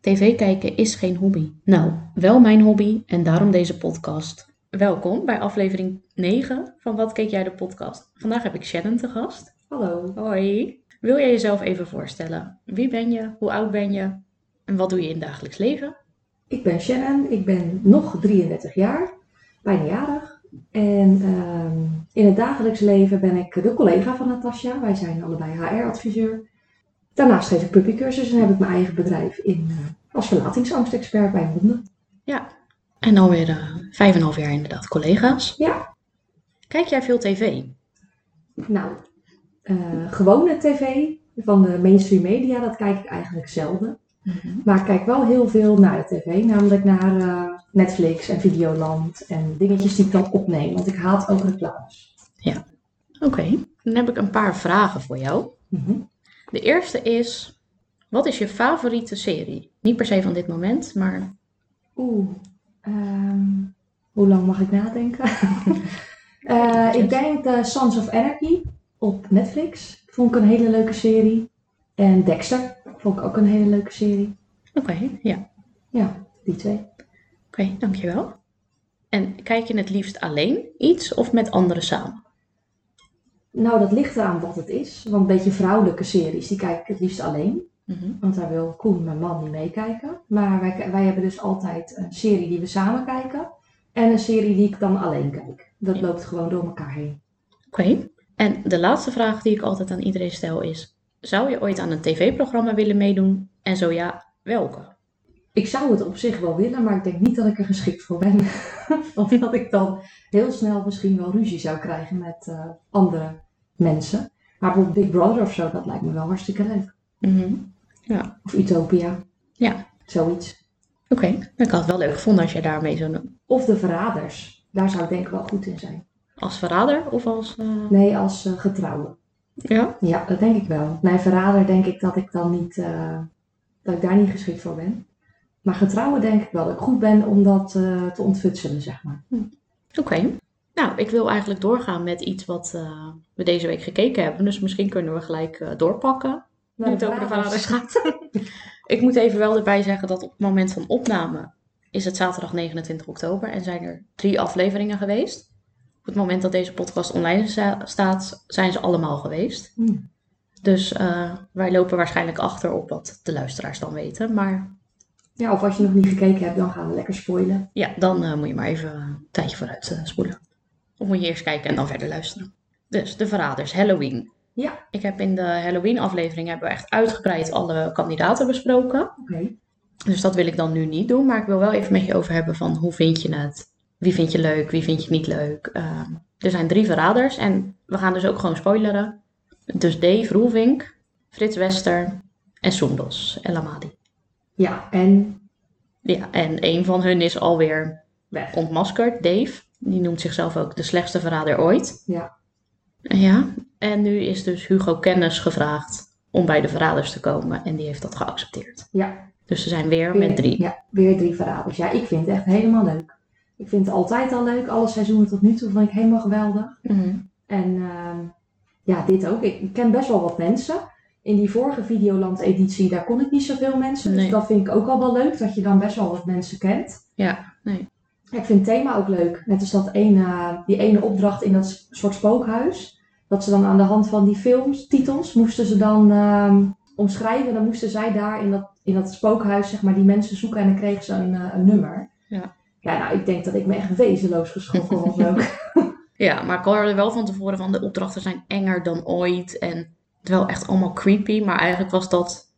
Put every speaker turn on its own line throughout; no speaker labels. TV kijken is geen hobby. Nou, wel mijn hobby en daarom deze podcast. Welkom bij aflevering 9 van Wat keek jij de podcast. Vandaag heb ik Shannon te gast.
Hallo.
Hoi. Wil jij jezelf even voorstellen? Wie ben je? Hoe oud ben je? En wat doe je in het dagelijks leven?
Ik ben Shannon, ik ben nog 33 jaar, bijna jarig. En ehm, in het dagelijks leven ben ik de collega van Natasja. Wij zijn allebei HR-adviseur. Daarnaast geef ik puppycursus en heb ik mijn eigen bedrijf in, eh, als verlatingsangstexpert bij honden.
En alweer eh, vijf en een half jaar inderdaad collega's.
Ja.
Kijk jij veel tv?
Nou, eh, gewone tv van de mainstream media, dat kijk ik eigenlijk zelden. Maar ik kijk wel heel veel naar de tv, namelijk naar eh, Netflix en Videoland en dingetjes die ik dan opneem, want ik haat ook reclames.
Oké. Dan heb ik een paar vragen voor jou.
Mhm.
De eerste is, wat is je favoriete serie? Niet per se van dit moment, maar
Oeh, ehm, hoe lang mag ik nadenken? Eh, ik denk de Sons of Anarchy op Netflix. Vond ik een hele leuke serie. En Dexter vond ik ook een hele leuke serie.
oké, ja.
Ja, die twee.
Oké, dankjewel. En kijk je het liefst alleen iets of met anderen samen?
Nou, dat ligt eraan wat het is. Want een beetje vrouwelijke series, die kijk ik het liefst alleen.
Mhm.
Want daar wil Koen, mijn man, niet meekijken. Maar wij, wij hebben dus altijd een serie die we samen kijken. En een serie die ik dan alleen kijk. Dat
Ja.
loopt gewoon door elkaar heen.
Oké. En de laatste vraag die ik altijd aan iedereen stel is: zou je ooit aan een tv-programma willen meedoen? En zo ja, welke?
Ik zou het op zich wel willen, maar ik denk niet dat ik er geschikt voor ben. of dat ik dan heel snel misschien wel ruzie zou krijgen met eh, andere mensen. Maar bijvoorbeeld Big Brother of zo, dat lijkt me wel hartstikke leuk.
Mhm.
Of Utopia.
Ja.
Zoiets.
Oké, ik had het wel leuk gevonden als jij daarmee zo'n
Of De Verraders. Daar zou ik denk ik wel goed in zijn.
als verrader of als. eh,
Nee, als eh, getrouwe.
Ja.
Ja, dat denk ik wel. Nee, Verrader denk ik dat ik dan niet, eh, dat ik daar niet geschikt voor ben. Maar getrouwen denk ik wel dat ik goed ben om dat eh, te ontfutselen, zeg maar.
Oké. Nou, ik wil eigenlijk doorgaan met iets wat eh, we deze week gekeken hebben. Dus misschien kunnen we gelijk eh, doorpakken. Nu het over de vaders gaat. ik moet even wel erbij zeggen dat op het moment van opname is het zaterdag 29 oktober en zijn er drie afleveringen geweest. Op het moment dat deze podcast online sta- staat, zijn ze allemaal geweest.
Hmm.
Dus eh, wij lopen waarschijnlijk achter op wat de luisteraars dan weten. Maar
Ja, of als je nog niet gekeken hebt, dan gaan we lekker spoilen.
ja, dan eh, moet je maar even een tijdje vooruit eh, spoelen. Of moet je eerst kijken en dan verder luisteren. Dus de verraders, Halloween.
Ja.
Ik heb in de Halloween aflevering hebben we echt uitgebreid alle kandidaten besproken.
Oké.
Dus dat wil ik dan nu niet doen. Maar ik wil wel even met je over hebben van hoe vind je het? Wie vind je leuk? Wie vind je niet leuk? Ehm, er zijn drie verraders en we gaan dus ook gewoon spoileren. Dus Dave Roelvink, Frits Wester en Soendos El Amadi.
Ja, en
Ja, en een van hun is alweer
weg.
ontmaskerd, Dave. Die noemt zichzelf ook de slechtste verrader ooit.
Ja.
Ja, en nu is dus Hugo Kennis gevraagd om bij de verraders te komen en die heeft dat geaccepteerd.
Ja,
Dus ze zijn weer
weer,
met drie.
Ja, weer drie verraders. Ja, ik vind het echt helemaal leuk. Ik vind het altijd al leuk. Alle seizoenen tot nu toe vond ik helemaal geweldig.
Mhm.
En ehm, ja, dit ook. Ik ik ken best wel wat mensen. In die vorige Videoland-editie, daar kon ik niet zoveel mensen.
Nee.
Dus dat vind ik ook al wel leuk, dat je dan best wel wat mensen kent.
Ja, nee.
Ik vind het thema ook leuk. Net als dat ene, die ene opdracht in dat s- soort spookhuis. Dat ze dan aan de hand van die filmtitels moesten ze dan ehm, omschrijven. Dan moesten zij daar in dat, in dat spookhuis zeg maar, die mensen zoeken en dan kregen ze een, eh, een nummer.
Ja.
ja, nou ik denk dat ik me echt wezenloos geschrokken was ook.
Ja, maar ik hoorde wel van tevoren van de opdrachten zijn enger dan ooit. En het wel echt allemaal creepy, maar eigenlijk was dat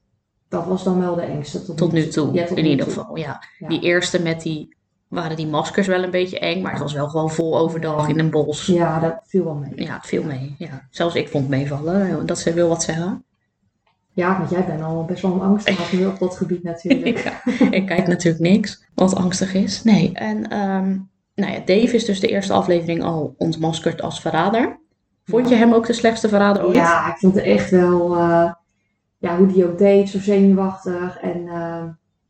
Dat was dan wel de engste tot,
tot nu toe.
Ja, tot
in
nu
ieder
toe.
geval, ja.
Ja.
Die eerste met die, waren die maskers wel een beetje eng, maar het was wel gewoon vol overdag in een bos. Ja,
Ja, dat viel wel mee.
eh, het viel mee. Ja. Zelfs ik vond meevallen, dat ze wil wat zeggen.
Ja, want jij bent al best wel een angsthaas nu op dat gebied natuurlijk.
Ja, ik kijk natuurlijk niks wat angstig is. Nee. En ehm, nou ja, Dave is dus de eerste aflevering al ontmaskerd als verrader. Vond je hem ook de slechtste verrader ooit?
Ja, ik vond het echt wel, eh, ja, hoe die ook deed, zo zenuwachtig. En eh,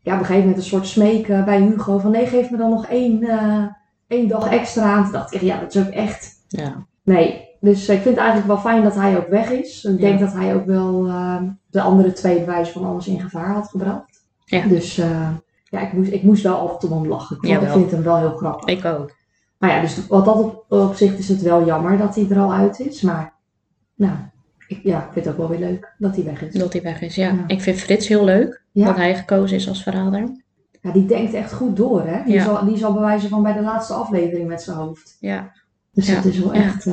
ja, op een gegeven moment een soort smeken bij Hugo van nee, geef me dan nog één, eh, één dag extra. En toen dacht ik, ja, dat is ook echt,
Ja.
nee. Dus ik vind het eigenlijk wel fijn dat hij ook weg is. Ik denk dat hij ook wel eh, de andere twee bewijzen van alles in gevaar had gebracht.
Ja.
Dus eh, ja, ik moest, ik moest wel altijd om hem lachen. Ik, vond- ik
Jawel.
vind hem wel heel grappig.
Ik ook.
Maar ja, dus wat dat op, opzicht is het wel jammer dat hij er al uit is. Maar nou, ik, ja, ik vind het ook wel weer leuk dat hij weg is.
Dat hij weg is, ja.
Ja.
Ik vind Frits heel leuk dat
Ja,
hij gekozen is als verrader.
ja, die denkt echt goed door, hè? Die,
Ja.
zal, die zal bewijzen van bij de laatste aflevering met zijn hoofd.
Ja.
Dus
Ja,
dat is wel
ja.
echt... eh,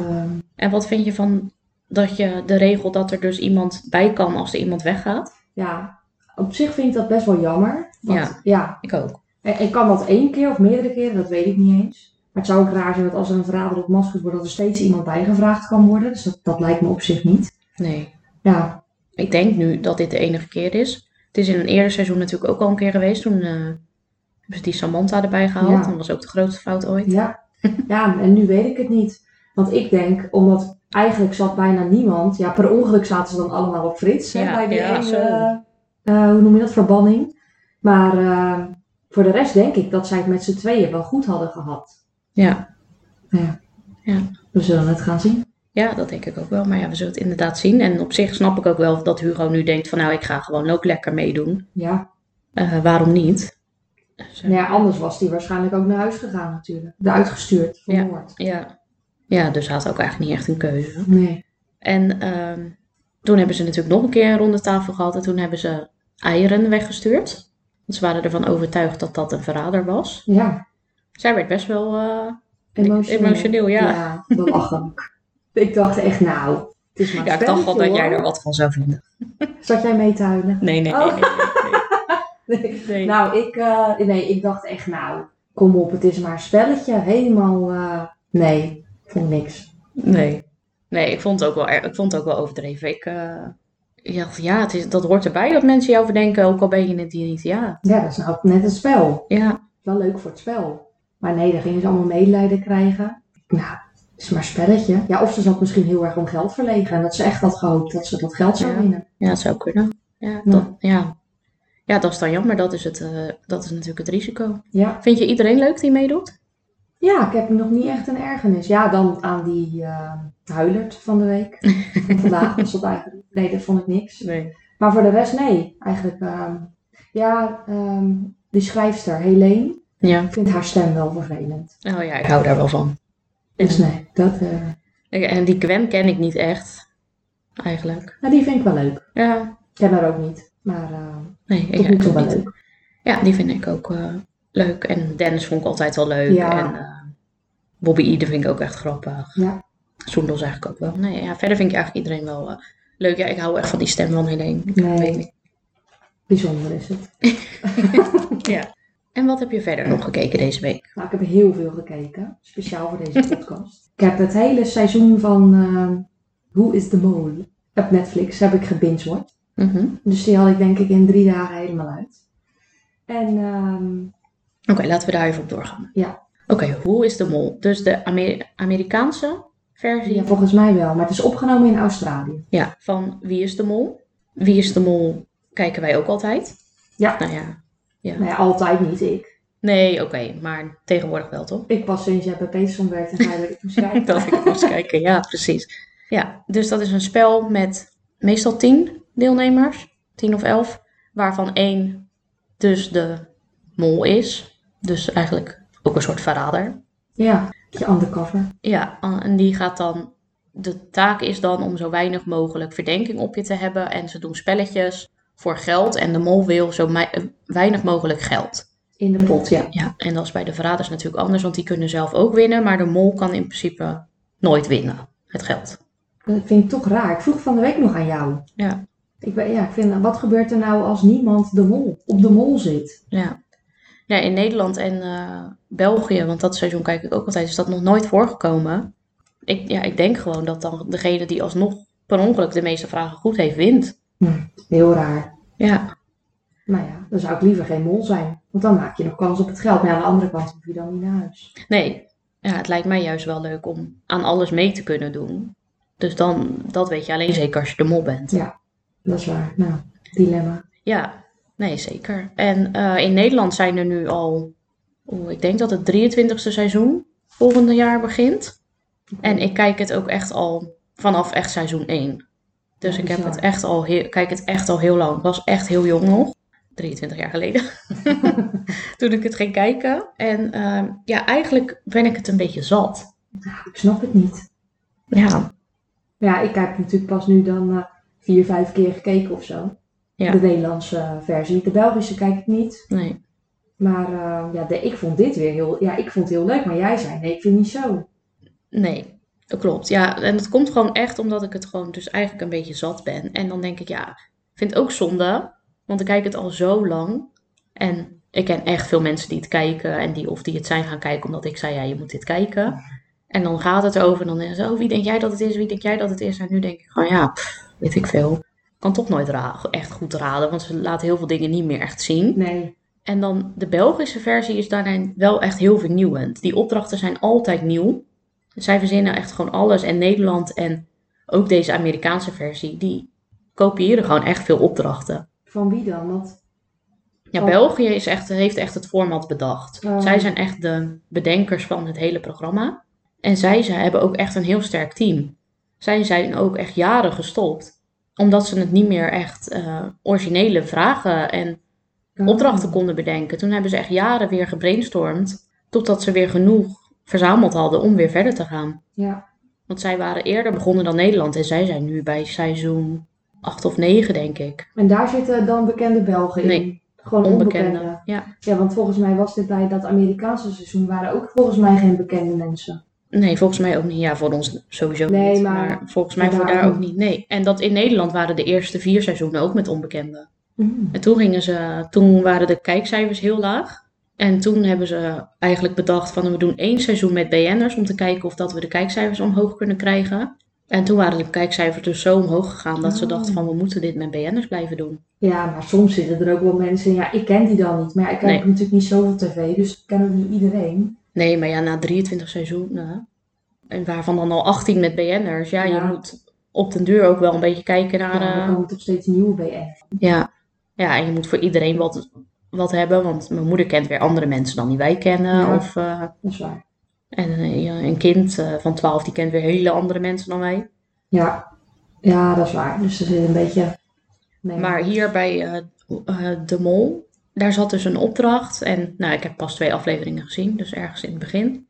En wat vind je van dat je de regel dat er dus iemand bij kan als er iemand weggaat?
ja, op zich vind ik dat best wel jammer. Want,
Ja.
ja.
Ik ook.
En, en kan dat één keer of meerdere keren, dat weet ik niet eens. Maar het zou ook raar zijn dat als er een verrader op maskers wordt, dat er steeds iemand bijgevraagd kan worden. Dus dat, dat lijkt me op zich niet.
Nee.
Ja,
Ik denk nu dat dit de enige keer is. Het is in een eerder seizoen natuurlijk ook al een keer geweest. Toen eh, hebben ze die Samantha erbij gehaald.
Ja.
Dat was ook de grootste fout ooit.
Ja. ja, en nu weet ik het niet. Want ik denk, omdat eigenlijk zat bijna niemand. Ja, per ongeluk zaten ze dan allemaal op Frits.
Ja,
hè, bij die
ja,
ene,
zo.
eh, hoe noem je dat, verbanning. Maar eh, voor de rest denk ik dat zij het met z'n tweeën wel goed hadden gehad.
Ja.
Ja.
Ja.
We zullen het gaan zien.
Ja, dat denk ik ook wel. Maar ja, we zullen het inderdaad zien. En op zich snap ik ook wel dat Hugo nu denkt van nou, ik ga gewoon ook lekker meedoen.
Ja.
Eh, waarom niet? Dus, eh,
Nou ja, anders was hij waarschijnlijk ook naar huis gegaan natuurlijk. Eruit gestuurd,
Ja.
vermoord.
ja. ja, dus hij had ook eigenlijk niet echt een keuze.
Nee.
En ehm, toen hebben ze natuurlijk nog een keer een ronde tafel gehad. En toen hebben ze eieren weggestuurd. Want ze waren ervan overtuigd dat dat een verrader was.
Ja,
Zij werd best wel eh,
emotioneel.
Emotioneel, ja.
Ja, belachelijk. ik dacht echt, nou, het is maar een
Ja, ik dacht al
spelletje,
dat jij
hoor.
er wat van zou vinden.
Zat jij mee te huilen?
Nee, nee, nee.
Oh.
nee, nee,
Nee.
nee, nee.
Nou, ik, eh, nee, ik dacht echt, nou, kom op, het is maar een spelletje. Helemaal, eh, nee, ik vond niks.
nee. Nee, ik vond het ook wel, erg- ik vond het ook wel overdreven. Ik, eh, ik dacht, ja, het is, dat hoort erbij dat mensen jou verdenken, ook al ben je het hier niet. Ja,
Ja, dat is nou net een spel.
ja,
Wel leuk voor het spel. Maar nee, daar gingen ze allemaal medelijden krijgen. Nou, het is maar een spelletje. Ja, of ze zat misschien heel erg om geld verlegen. En dat ze echt had gehoopt dat ze dat geld zou
Ja.
winnen.
ja het zou kunnen. Ja,
Ja.
dat, ja. ja, dat is dan jammer. Dat is, het, eh, dat is natuurlijk het risico.
Ja.
Vind je iedereen leuk die meedoet?
ja, ik heb nog niet echt een ergernis. Ja, dan aan die eh huilert van de week. Van vandaag was dat eigenlijk. Nee, dat vond ik niks.
Nee.
Maar voor de rest, nee. Eigenlijk, ehm, ja, ehm, die schrijfster, Helene,
Ja.
ik vind haar stem wel vervelend.
Oh ja, ik hou daar wel van.
Dus nee, dat, eh,
Ik- En die Gwen ken ik niet echt, eigenlijk.
nou, die vind ik wel leuk.
Ja,
Ik ken haar ook niet, maar eh,
nee, ik
tot nu
ik
toe
ook
wel
niet.
leuk.
Ja, die vind ik ook eh, leuk. En Dennis vond ik altijd wel leuk.
Ja.
En eh, Bobby Ide vind ik ook echt grappig.
Ja.
Soendels eigenlijk ook wel. Nee, ja, verder vind ik eigenlijk iedereen wel eh, leuk. Ja, ik hou echt van die stem van Helene. Ik
Nee.
weet niet.
Bijzonder is het.
En wat heb je verder nog gekeken deze week?
Nou, ik heb heel veel gekeken, speciaal voor deze podcast. ik heb het hele seizoen van eh, Who is the Mole op Netflix heb ik gebingewatcht.
Mhm.
Dus die had ik denk ik in drie dagen helemaal uit. En ehm,
Oké, laten we daar even op doorgaan.
Ja.
Oké, hoe is de mol? Dus de Ameri- Amerikaanse versie
ja, volgens mij wel, maar het is opgenomen in Australië.
Ja, van Wie is de Mol? Wie is de Mol kijken wij ook altijd.
Ja.
Nou ja.
Nou ja, altijd niet ik.
Nee, oké, maar tegenwoordig wel toch?
Ik pas sinds jij bij Peterson werkt en ga je het beschrijven.
Dat ik moest kijken, ja, precies. Ja, dus dat is een spel met meestal tien deelnemers, tien of elf, waarvan één dus de mol is. Dus eigenlijk ook een soort verrader.
Ja, je undercover.
Ja, ah, en die gaat dan, de taak is dan om zo weinig mogelijk verdenking op je te hebben. En ze doen spelletjes voor geld en de mol wil zo mei- eh, weinig mogelijk geld.
In de pot, ja.
Ja, en dat is bij de verraders natuurlijk anders, want die kunnen zelf ook winnen, maar de mol kan in principe nooit winnen, het geld.
Dat vind ik toch raar. Ik vroeg van de week nog aan jou.
Ja.
Ik, ben, ja, ik vind, wat gebeurt er nou als niemand de mol, op de mol zit?
Ja. ja, in Nederland en eh, België, want dat seizoen kijk ik ook altijd, is dat nog nooit voorgekomen. Ik, ja, ik denk gewoon dat dan degene die alsnog per ongeluk de meeste vragen goed heeft, wint.
Heel raar.
Ja,
Nou ja, dan zou ik liever geen mol zijn. Want dan maak je nog kans op het geld. Maar aan de andere kant hoef je dan niet naar huis.
nee. Ja, het lijkt mij juist wel leuk om aan alles mee te kunnen doen. Dus dan, dat weet je alleen zeker als je de mol bent.
Dat is waar. Nou, dilemma.
Ja, nee, zeker. En eh, in Nederland zijn er nu al, oeh, ik denk dat het 23e seizoen volgende jaar begint. En ik kijk het ook echt al vanaf echt seizoen 1. Dus
Ja,
ik heb
bizar.
het echt al heel, kijk het echt al heel lang. Ik was echt heel jong nog. 23 jaar geleden. Toen ik het ging kijken. En eh, ja, eigenlijk ben ik het een beetje zat.
Ik snap het niet.
Ja.
Ja, ik heb natuurlijk pas nu dan eh, vier, vijf keer gekeken of zo.
Ja.
De Nederlandse eh, versie. De Belgische kijk ik niet.
Nee.
Maar eh, ja, de, ik vond dit weer heel, ja, ik vond het heel leuk. Maar jij zei, nee, ik vind het niet zo.
Nee, dat klopt. Ja, en dat komt gewoon echt omdat ik het gewoon dus eigenlijk een beetje zat ben. En dan denk ik, ja, ik vind het ook zonde, want ik kijk het al zo lang. En ik ken echt veel mensen die het kijken en die of die het zijn gaan kijken omdat ik zei, ja, je moet dit kijken. En dan gaat het over en dan is het, oh, wie denk jij dat het is, wie denk jij dat het is? En nu denk ik gewoon, ja, pff, weet ik veel. Ik kan toch nooit ra- echt goed raden, want ze laten heel veel dingen niet meer echt zien.
Nee.
En dan de Belgische versie is daarin wel echt heel vernieuwend. Die opdrachten zijn altijd nieuw. Zij verzinnen echt gewoon alles. En Nederland en ook deze Amerikaanse versie, die kopiëren gewoon echt veel opdrachten.
Van wie dan? Want,
Ja,
Oh.
België is echt, heeft echt het format bedacht.
Oh.
Zij zijn echt de bedenkers van het hele programma. En zij, zij hebben ook echt een heel sterk team. Zij zijn ook echt jaren gestopt. Omdat ze het niet meer echt eh, originele vragen en Mm-hmm. opdrachten konden bedenken. Toen hebben ze echt jaren weer gebrainstormd. Totdat ze weer genoeg verzameld hadden om weer verder te gaan.
Ja,
Want zij waren eerder begonnen dan Nederland. En zij zijn nu bij seizoen 8 of 9, denk ik.
en daar zitten dan bekende Belgen in.
Nee,
Gewoon Oh, onbekende.
Onbekende. Ja.
Ja, want volgens mij was dit bij dat Amerikaanse seizoen waren ook volgens mij geen bekende mensen.
Nee, volgens mij ook niet. Ja, voor ons sowieso
Nee,
niet.
maar
volgens mij
voor
voor
daar
daar ook
ook
niet. Nee. En dat in Nederland waren de eerste vier seizoenen ook met onbekenden. En toen, gingen ze, toen waren de kijkcijfers heel laag. En toen hebben ze eigenlijk bedacht van we doen één seizoen met BN'ers om te kijken of dat we de kijkcijfers omhoog kunnen krijgen. En toen waren de kijkcijfers dus zo omhoog gegaan dat ze
Oh.
dachten van we moeten dit met BN'ers blijven doen.
Ja, maar soms zitten er ook wel mensen. Ja, ik ken die dan niet. Maar ja, ik kijk
Nee.
natuurlijk niet zoveel tv, dus ik ken ook niet iedereen.
Nee, maar ja, na 23 seizoenen, en waarvan dan al 18 met BN'ers, ja,
Ja.
je moet op den duur ook wel een beetje kijken naar...
ja,
eh,
dan komen toch steeds nieuwe BN.
Ja, ja en je moet voor iedereen wat, wat hebben, want mijn moeder kent weer andere mensen dan die wij kennen.
Ja.
Of, eh,
Dat is waar.
en eh, ja, een kind eh, van 12 die kent weer hele andere mensen dan wij.
Ja. ja, dat is waar. Dus er zit een beetje. Nee.
Maar hier bij eh, eh, De Mol, daar zat dus een opdracht. En nou, ik heb pas twee afleveringen gezien, dus ergens in het begin.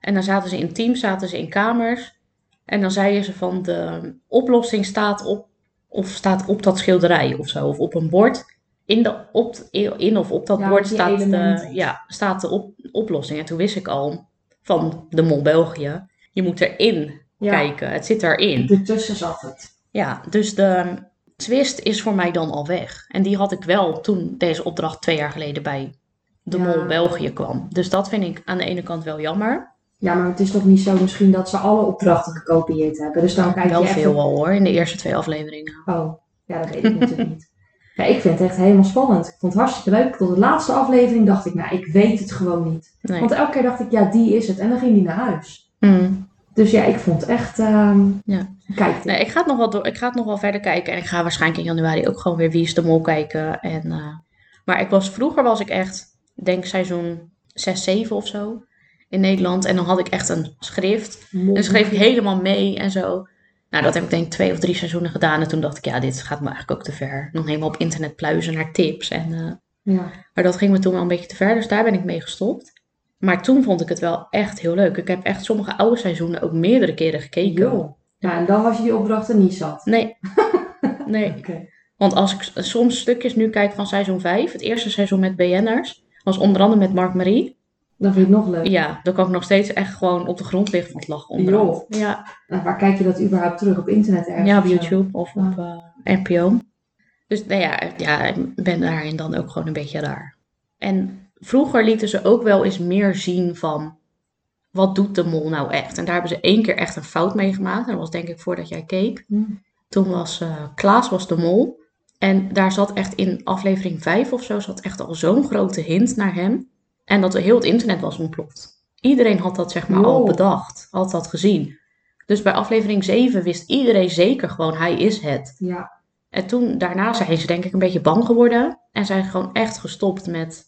En dan zaten ze in teams, zaten ze in kamers. En dan zeiden ze van de oplossing staat op, of staat op dat schilderij of zo, of op een bord. In, de, op, in of op dat
Ja,
bord
met die
staat de,
elementen.
ja, staat de op, oplossing. En toen wist ik al van de Mol België, je moet erin
Ja.
kijken. Het zit erin.
Ertussen zat het.
Ja, dus de twist is voor mij dan al weg. En die had ik wel toen deze opdracht twee jaar geleden bij de
Ja.
Mol België kwam. Dus dat vind ik aan de ene kant wel jammer.
Ja, maar het is toch niet zo misschien dat ze alle opdrachten gekopieerd hebben. Dus dan kijk je
wel
echt
veel al hoor, in de eerste twee afleveringen.
Oh, ja, dat weet ik natuurlijk niet. Ja, ik vind het echt helemaal spannend. Ik vond het hartstikke leuk. Tot de laatste aflevering dacht ik, nou, ik weet het gewoon niet.
Nee.
Want elke keer dacht ik, ja, die is het. En dan ging die naar huis.
Hmm.
Dus ja, ik vond het echt... ehm,
Ja.
Kijk, dit.
Nee, ik, ga het nog wel door, ik ga het nog wel verder kijken. En ik ga waarschijnlijk in januari ook gewoon weer Wie is de Mol kijken. En, eh, maar ik was, vroeger was ik echt, denk seizoen 6, 7 of zo in Nederland. En dan had ik echt een schrift
Mond.
Dus schreef ik helemaal mee en zo. Nou, dat heb ik denk ik twee of drie seizoenen gedaan. En toen dacht ik, ja, dit gaat me eigenlijk ook te ver. Dan helemaal op internet pluizen naar tips. En, eh,
Ja.
maar dat ging me toen wel een beetje te ver, dus daar ben ik mee gestopt. Maar toen vond ik het wel echt heel leuk. Ik heb echt sommige oude seizoenen ook meerdere keren gekeken.
Joh. Nou, en dan was je die opdrachten niet zat.
Nee. nee.
Oké.
Want als ik s- soms stukjes nu kijk van seizoen 5, het eerste seizoen met BN'ers, was onder andere met Mark Marie.
Dan vind je het nog leuk.
Ja, dan kan ik nog steeds echt gewoon op de grond liggen van het lachen onderhand. Ja.
Nou, waar kijk je dat überhaupt terug? Op internet ergens?
Ja, op
of zo?
YouTube of op eh, NPO. Dus nou ja, ja, ik ben daarin dan ook gewoon een beetje raar. En vroeger lieten ze ook wel eens meer zien van wat doet de mol nou echt. En daar hebben ze één keer echt een fout mee gemaakt. En dat was denk ik voordat jij keek.
Hmm.
Toen was eh, Klaas was de mol. En daar zat echt in aflevering 5 of zo, zat echt al zo'n grote hint naar hem. En dat heel het internet was ontploft. Iedereen had dat zeg maar al
Wow.
bedacht, had dat gezien. Dus bij aflevering 7 wist iedereen zeker gewoon, hij is het.
Ja,
En toen, daarna zijn ze denk ik een beetje bang geworden. En zijn gewoon echt gestopt met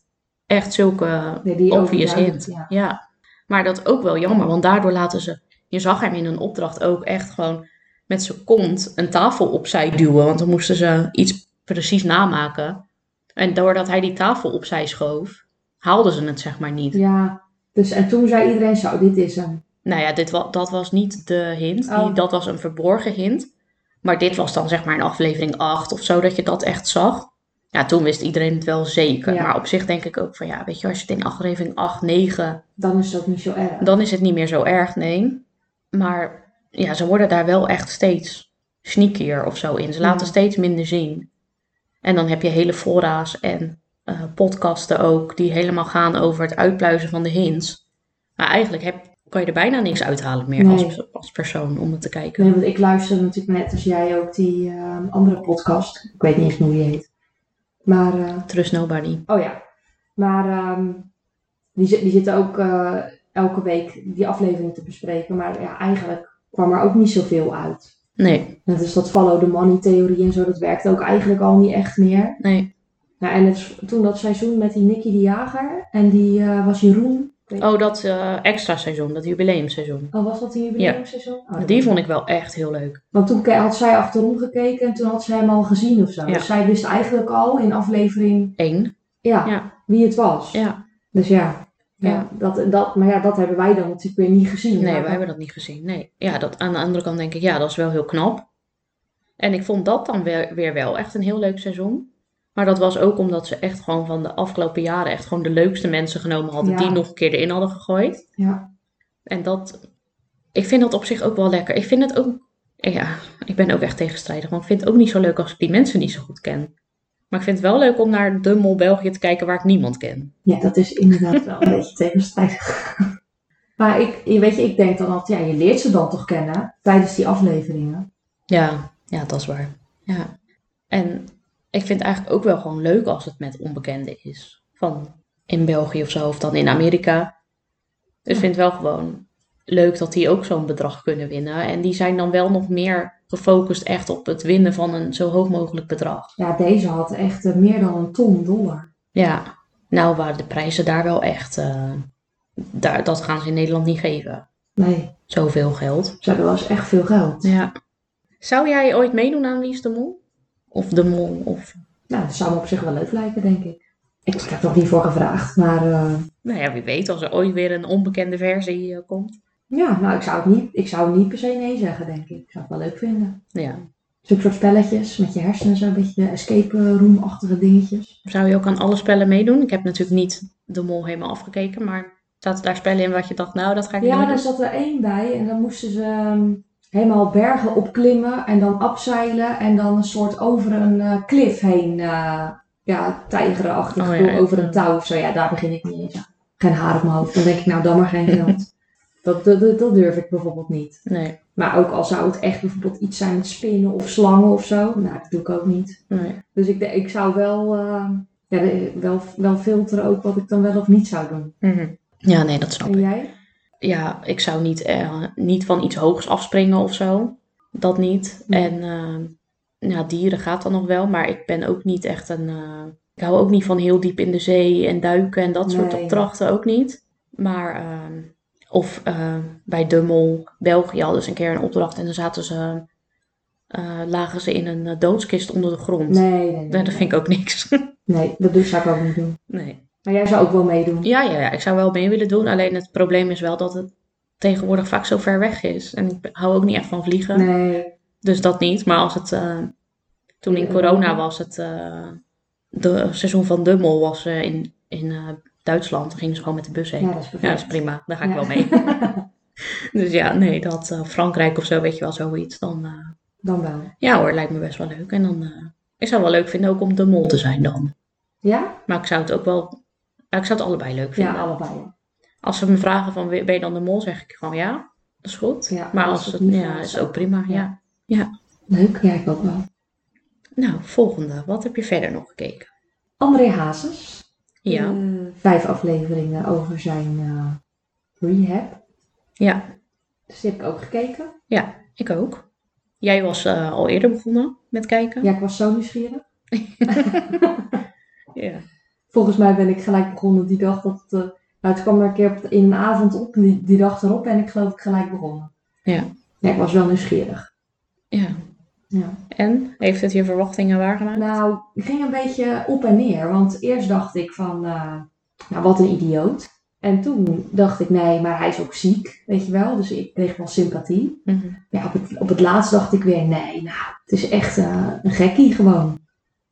echt zulke
nee, die
obvious
overtuigend,
hint.
Ja.
Ja, maar dat ook wel jammer, want daardoor laten ze. Je zag hem in een opdracht ook echt gewoon met zijn kont een tafel opzij duwen, want dan moesten ze iets precies namaken. En doordat hij die tafel opzij schoof, haalden ze het zeg maar niet.
ja, dus en toen zei iedereen zo, dit is hem.
Nou ja, dit wa- dat was niet de hint, die-
Oh.
dat was een verborgen hint. Maar dit was dan zeg maar in aflevering 8 of zo, dat je dat echt zag. Ja, toen wist iedereen het wel zeker.
Ja.
Maar op zich denk ik ook van ja, weet je, als je het in aflevering 8, 9
Dan is dat niet zo erg.
dan is het niet meer zo erg, nee. Maar ja, ze worden daar wel echt steeds sneakier of zo in. Ze laten
Ja.
steeds minder zien. En dan heb je hele fora's en eh, podcasten ook, die helemaal gaan over het uitpluizen van de hints. Maar eigenlijk heb, kan je er bijna niks uithalen meer
Nee.
als, als persoon om het te kijken.
Nee, want ik luister natuurlijk net als jij ook die ehm, andere podcast. Ik weet niet eens hoe die heet. Maar, eh,
Trust nobody.
oh ja. Maar ehm, die, zit- die zitten ook eh, elke week die aflevering te bespreken. Maar ja, eigenlijk kwam er ook niet zoveel uit.
Nee,
Net als dat follow the money theorie en zo, dat werkt ook eigenlijk al niet echt meer.
nee.
Nou, en het, toen dat seizoen met die Nicky de Jager en die eh, was Jeroen.
Oh, dat eh, extra seizoen, dat jubileumseizoen.
Oh, was dat die jubileumseizoen? Oh, dat
Die
weet ik
vond ik wel echt heel leuk.
Want toen ke- had zij achterom gekeken en toen had zij hem al gezien of zo.
Ja.
Dus zij wist eigenlijk al in aflevering
Eén.
ja,
Ja.
wie het was.
Ja.
Dus ja, ja,
Ja.
Dat, dat, maar ja, dat hebben wij dan natuurlijk weer niet gezien.
Nee,
Maar
we hebben dat niet gezien. Nee. Ja, dat, aan de andere kant denk ik, ja, dat is wel heel knap. En ik vond dat dan weer, weer wel echt een heel leuk seizoen. Maar dat was ook omdat ze echt gewoon van de afgelopen jaren echt gewoon de leukste mensen genomen hadden.
Ja.
Die nog een keer erin hadden gegooid.
Ja.
En dat, ik vind dat op zich ook wel lekker. Ik vind het ook, ja, ik ben ook echt tegenstrijdig. Want ik vind het ook niet zo leuk als ik die mensen niet zo goed ken. Maar ik vind het wel leuk om naar de Mol België te kijken waar ik niemand ken.
Ja, dat is inderdaad wel een beetje tegenstrijdig. Maar ik, je weet je, ik denk dan altijd, ja, je leert ze dan toch kennen tijdens die afleveringen.
Ja, ja, dat is waar. Ja. En ik vind het eigenlijk ook wel gewoon leuk als het met onbekenden is. Van in België of zo, of dan in Amerika. Dus ik
Ja.
vind het wel gewoon leuk dat die ook zo'n bedrag kunnen winnen. En die zijn dan wel nog meer gefocust echt op het winnen van een zo hoog mogelijk bedrag.
Ja, deze had echt eh, meer dan een ton dollar.
Ja, nou waren de prijzen daar wel echt... eh, daar, dat gaan ze in Nederland niet geven.
Nee,
Zoveel geld.
zo, dat was echt veel geld.
Ja. Zou jij ooit meedoen aan Wie is de Mol? Of de Mol, of
Nou, dat zou me op zich wel leuk lijken, denk ik. Ik heb er nog niet voor gevraagd, maar... eh,
Nou ja, wie weet als er ooit weer een onbekende versie eh, komt.
Ja, nou, ik zou, het niet, ik zou niet per se nee zeggen, denk ik. Ik zou het wel leuk vinden.
Ja.
Zo'n soort spelletjes met je hersenen, zo'n beetje escape room-achtige dingetjes.
Zou je ook aan alle spellen meedoen? Ik heb natuurlijk niet de mol helemaal afgekeken, maar zaten daar spellen in wat je dacht, nou, dat ga ik
Ja,
niet
daar
doen.
zat er één bij en dan moesten ze ehm, helemaal bergen opklimmen en dan afzeilen en dan een soort over een eh klif heen eh ja, tijgerenachtig,
Oh, ja,
door
ja.
over een touw of zo. Ja, daar begin ik niet eens aan. Geen haar op mijn hoofd. Dan denk ik, nou, dan maar geen geld. dat, dat, dat, dat durf ik bijvoorbeeld niet.
Nee,
Maar ook al zou het echt bijvoorbeeld iets zijn met spinnen of slangen of zo, nou, dat doe ik ook niet.
nee.
Dus ik, de- ik zou wel, eh, ja, de- wel, wel filteren ook wat ik dan wel of niet zou doen.
Mhm. Ja, nee, dat snap
En
ik.
jij?
Ja, ik zou niet, eh, niet van iets hoogs afspringen of zo. Dat niet.
Nee.
En eh, ja, dieren gaat dan nog wel, maar ik ben ook niet echt een... eh, ik hou ook niet van heel diep in de zee en duiken en dat soort
Nee.
opdrachten ook niet. Maar, ehm, of eh, bij Dummel, België hadden ze een keer een opdracht en dan zaten ze, eh, lagen ze in een eh, doodskist onder de grond.
Nee, nee, nee.
Nou, dat vind ik ook niks.
Nee, dat doe, zou ik ook niet doen.
nee.
Maar jij zou ook wel meedoen.
Ja, ja, ja, ik zou wel mee willen doen, alleen het probleem is wel dat het tegenwoordig vaak zo ver weg is. En ik ben- hou ook niet echt van vliegen,
Nee,
dus dat niet. Maar als het, eh, toen in
Ja.
corona was het, eh, de seizoen van Dummel was eh, in, in eh, Duitsland, dan gingen ze gewoon met de bus heen.
ja, dat is
Ja, dat
perfect.
is prima. Daar ga ik
Ja.
wel mee. dus ja, nee, dat eh, Frankrijk of zo, weet je wel, zoiets. Dan, eh,
Dan wel.
ja hoor, lijkt me best wel leuk. En dan, eh, ik zou wel leuk vinden ook om de mol te zijn dan.
Ja?
Maar ik zou het ook wel, ja, ik zou het allebei leuk vinden.
Ja, allebei.
Als ze me vragen van, ben je dan de mol, zeg ik gewoon ja, dat is goed.
Ja,
maar
als
als
ze het
het,
niet
ja,
vragen,
is
zou
ook prima, ja.
Leuk, ja, ik ook wel.
Nou, volgende. Wat heb je verder nog gekeken?
André Hazes.
Ja,
Eh, vijf afleveringen over zijn eh, rehab.
ja,
Dus die heb ik ook gekeken.
ik ook. Jij was eh, al eerder begonnen met kijken.
Ja, ik was zo nieuwsgierig.
Ja.
Volgens mij ben ik gelijk begonnen die dag dat... eh, nou, het kwam er een keer op- in een avond op. en Die, die dag erop ben ik geloof ik gelijk begonnen.
Ja.
Ja, ik was wel nieuwsgierig.
Ja.
Ja.
En? Heeft het je verwachtingen waargemaakt?
Nou, ik ging een beetje op en neer. Want eerst dacht ik van, eh, nou wat een idioot. En toen dacht ik, nee, maar hij is ook ziek, weet je wel. Dus ik kreeg wel sympathie.
Mhm.
Ja, op het, op het laatst dacht ik weer, nee, nou, het is echt eh, een gekkie gewoon.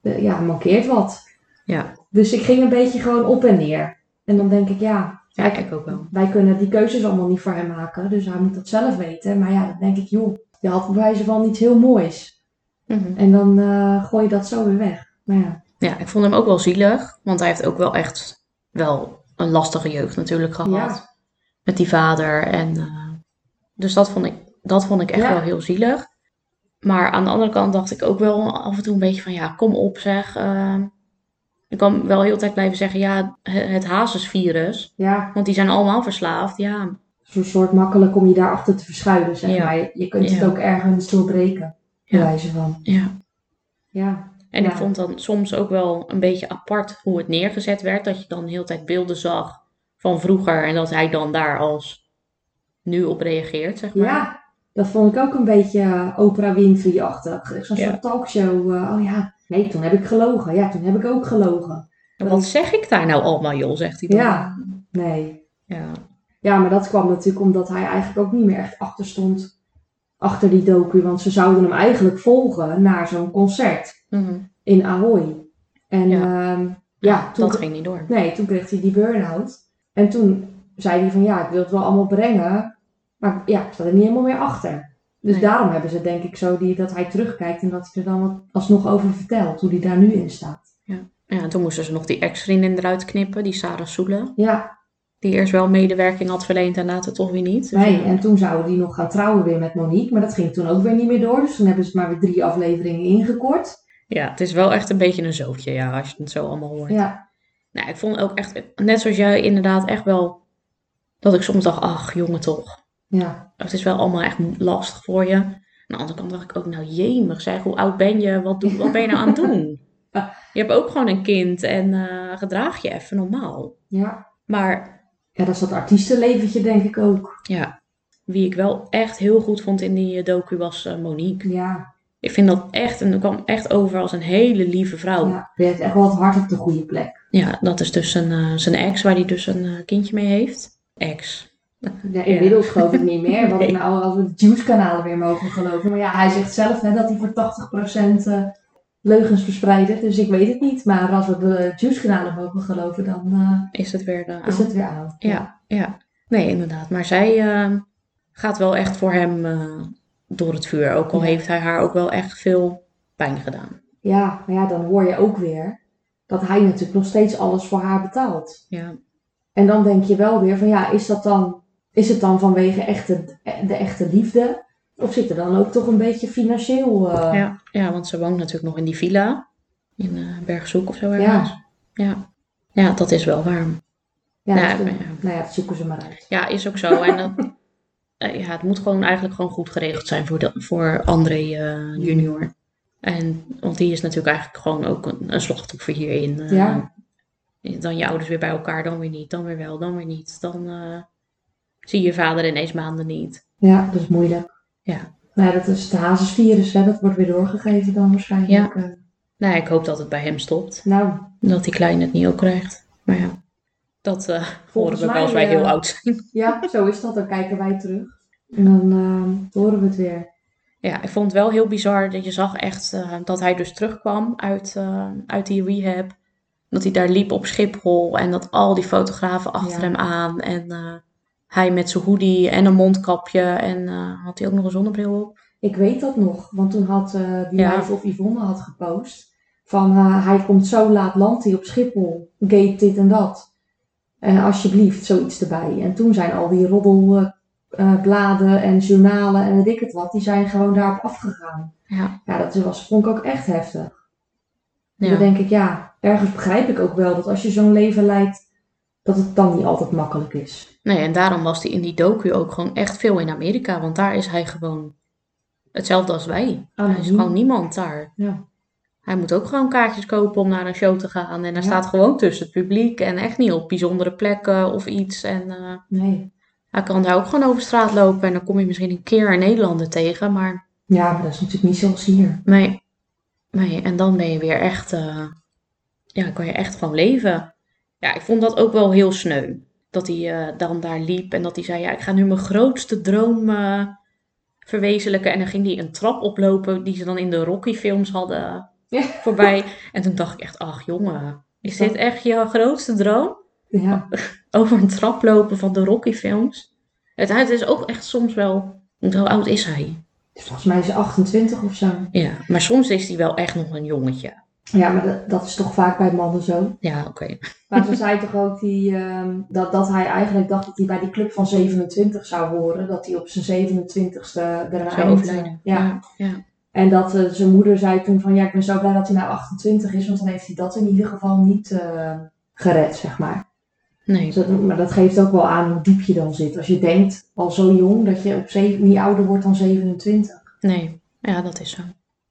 Eh, ja, hij mankeert wat.
Ja.
Dus ik ging een beetje gewoon op en neer. En dan denk ik, ja,
Ja, ik ook wel.
wij kunnen die keuzes allemaal niet voor hem maken. Dus hij moet dat zelf weten. Maar ja, dan denk ik, joh, je had bij wijze van iets heel moois.
Mhm.
En dan eh, gooi je dat zo weer weg. Maar ja.
Ja, ik vond hem ook wel zielig, want hij heeft ook wel echt wel een lastige jeugd natuurlijk gehad.
Ja.
Met die vader. En, eh, dus dat vond ik, dat vond ik echt
Ja.
wel heel zielig. Maar aan de andere kant dacht ik ook wel af en toe een beetje van ja, kom op zeg. eh. ik kan wel heel de tijd blijven zeggen ja, he- het hazesvirus.
Ja,
Want die zijn allemaal verslaafd. Ja,
zo'n soort makkelijk om je daarachter te verschuilen, zeg
Ja.
maar. Je- Je kunt het
Ja.
ook ergens doorbreken,
Ja.
bij wijze van.
ja.
Ja,
En ik
Ja.
vond dan soms ook wel een beetje apart hoe het neergezet werd. Dat je dan de hele tijd beelden zag van vroeger. En dat hij dan daar als nu op reageert, zeg maar.
ja dat vond ik ook een beetje eh, Oprah Winfrey-achtig. Echt Zo'n
Ja.
soort talkshow. eh, oh ja, nee, toen heb ik gelogen. Ja, toen heb ik ook gelogen.
En Wat zeg ik daar nou allemaal, joh, zegt hij dan.
Ja, nee.
Ja,
Ja, maar dat kwam natuurlijk omdat hij eigenlijk ook niet meer echt achter stond. Achter die docu, want ze zouden hem eigenlijk volgen naar zo'n concert
Mhm.
in Ahoy. En ehm,
Ja.
ja, ja toen,
dat ging niet door.
Nee, toen kreeg hij die burn-out. En toen zei hij van ja, ik wil het wel allemaal brengen. Maar ja, ik sta er niet helemaal meer achter. Dus
Nee.
daarom hebben ze denk ik zo die, dat hij terugkijkt en dat hij er dan wat alsnog over vertelt. Hoe hij daar nu in staat.
Ja, en toen moesten ze nog die ex-vriendin eruit knippen, die Sarah Soele.
Ja,
Die eerst wel medewerking had verleend en later toch weer niet. Dus
nee.
ja.
En toen zouden die nog gaan trouwen weer met Monique. Maar dat ging toen ook weer niet meer door. Dus toen hebben ze maar weer drie afleveringen ingekort.
Ja, het is wel echt een beetje een zootje, ja, als je het zo allemaal hoort.
Ja,
Nou, ik vond ook echt, net zoals jij inderdaad, echt wel dat ik soms dacht, ach jongen toch.
ja,
Oh, Het is wel allemaal echt lastig voor je. Aan de andere kant dacht ik ook, nou jemig zeg, hoe oud ben je? Wat, doe, wat ben je nou aan het doen? Je hebt ook gewoon een kind en eh, gedraag je even normaal.
ja.
Maar
Ja, dat is dat artiestenleventje denk ik ook.
Ja, wie ik wel echt heel goed vond in die eh, docu was eh, Monique.
Ja,
Ik vind dat echt, en dat kwam echt over als een hele lieve vrouw. Ja,
ja. Je hebt echt wel het hart op de goede plek.
dat is dus zijn, eh, zijn ex, waar hij dus een eh, kindje mee heeft. Ex.
Ja, inmiddels geloof ik niet meer. Wat ik nou als we de Juice-kanalen weer mogen geloven. Maar ja, hij zegt zelf hè, dat hij voor 80% eh, leugens verspreidt. Dus ik weet het niet. Maar als we de Juice-kanalen mogen geloven, dan eh,
Is het weer eh,
is
aan?
het weer aan.
Ja, ja. Nee, inderdaad. Maar zij eh, gaat wel echt voor hem eh, door het vuur. Ook al
Ja.
heeft hij haar ook wel echt veel pijn gedaan.
Ja, maar ja, dan hoor je ook weer dat hij natuurlijk nog steeds alles voor haar betaalt.
Ja,
En dan denk je wel weer van ja, is, dat dan, is het dan vanwege echte, de echte liefde? Of zit er dan ook toch een beetje financieel... eh,
ja, ja want ze woont natuurlijk nog in die villa. In eh, Bergzoek of zo
Ja.
ergens. Ja. ja, dat is wel waar.
ja,
Ja,
dus dan-
ja.
Nou ja, dat zoeken ze maar uit.
Ja, is ook zo. En dat, eh, ja, het moet gewoon eigenlijk gewoon goed geregeld zijn voor, de, voor André eh, junior. En, want die is natuurlijk eigenlijk gewoon ook een, een slachtoffer hierin. eh.
Ja.
Dan je ouders weer bij elkaar, dan weer niet, dan weer wel, dan weer niet. Dan eh, zie je vader ineens maanden niet.
Ja, dat is moeilijk.
Ja.
Nou ja, dat is het hazesvirus, hè. dat wordt weer doorgegeven dan waarschijnlijk. Eh,
Nou, ik hoop dat het bij hem stopt.
nou,
Dat die kleine het niet ook krijgt. Maar ja, dat eh, horen we
mij,
wel als wij
eh,
heel oud zijn.
ja, zo is dat. Dan kijken wij terug. En dan eh, horen we het weer.
Ja, ik vond het wel heel bizar dat je zag echt eh, dat hij dus terugkwam uit, eh, uit die rehab. Dat hij daar liep op Schiphol en dat al die fotografen achter
Ja.
hem aan. En eh, hij met zijn hoodie en een mondkapje en eh, had hij ook nog een zonnebril op.
Ik weet dat nog, want toen had eh, die
Ja.
live of Yvonne had gepost van eh, hij komt zo laat landt hij op Schiphol, gate dit en dat. En alsjeblieft, zoiets erbij. En toen zijn al die roddel eh, eh, bladen en journalen en weet ik het wat, die zijn gewoon daarop afgegaan.
Ja.
Ja, dat was, vond ik ook echt heftig. En
Ja.
Dan denk ik, ja, ergens begrijp ik ook wel dat als je zo'n leven leidt, dat het dan niet altijd makkelijk is.
Nee, en daarom was hij in die docu ook gewoon echt veel in Amerika. Want daar is hij gewoon hetzelfde als wij.
Anoniem.
Er Oh, is gewoon niemand daar.
Ja.
Hij moet ook gewoon kaartjes kopen om naar een show te gaan. En hij
Ja.
staat gewoon tussen het publiek. En echt niet op bijzondere plekken of iets. En eh,
Nee.
hij kan daar ook gewoon over straat lopen. En dan kom je misschien een keer een Nederlander tegen. Maar
Ja, maar dat is natuurlijk niet zoals hier.
nee. nee. En dan ben je weer echt... eh, ja, kan je echt gewoon leven. Ja, ik vond dat ook wel heel sneu. Dat hij eh, dan daar liep en dat hij zei... Ja, ik ga nu mijn grootste droom eh, verwezenlijken. En dan ging hij een trap oplopen die ze dan in de Rocky-films hadden
Ja.
voorbij. En toen dacht ik echt, ach jongen... Is dit echt je grootste droom?
Ja.
Over een trap lopen van de Rocky-films? Het, het is ook echt soms wel... Want hoe oud is hij?
Volgens mij is ze 28 of zo.
Ja, maar soms is hij wel echt nog een jongetje.
Ja, maar dat, dat is toch vaak bij mannen zo.
Ja, oké.
Maar ze zei toch ook die, ehm, dat, dat hij eigenlijk dacht dat hij bij die club van 27 zou horen. Dat hij op zijn 27ste eraan
Zou overlijden.
Ja.
ja.
En dat eh, zijn moeder zei toen van ja, ik ben zo blij dat hij nou 28 is. Want dan heeft hij dat in ieder geval niet eh, gered, zeg maar.
Nee.
Dus dat- maar dat geeft ook wel aan hoe diep je dan zit. Als je denkt al zo jong dat je op zeven, niet ouder wordt dan 27.
Nee, ja, dat is zo.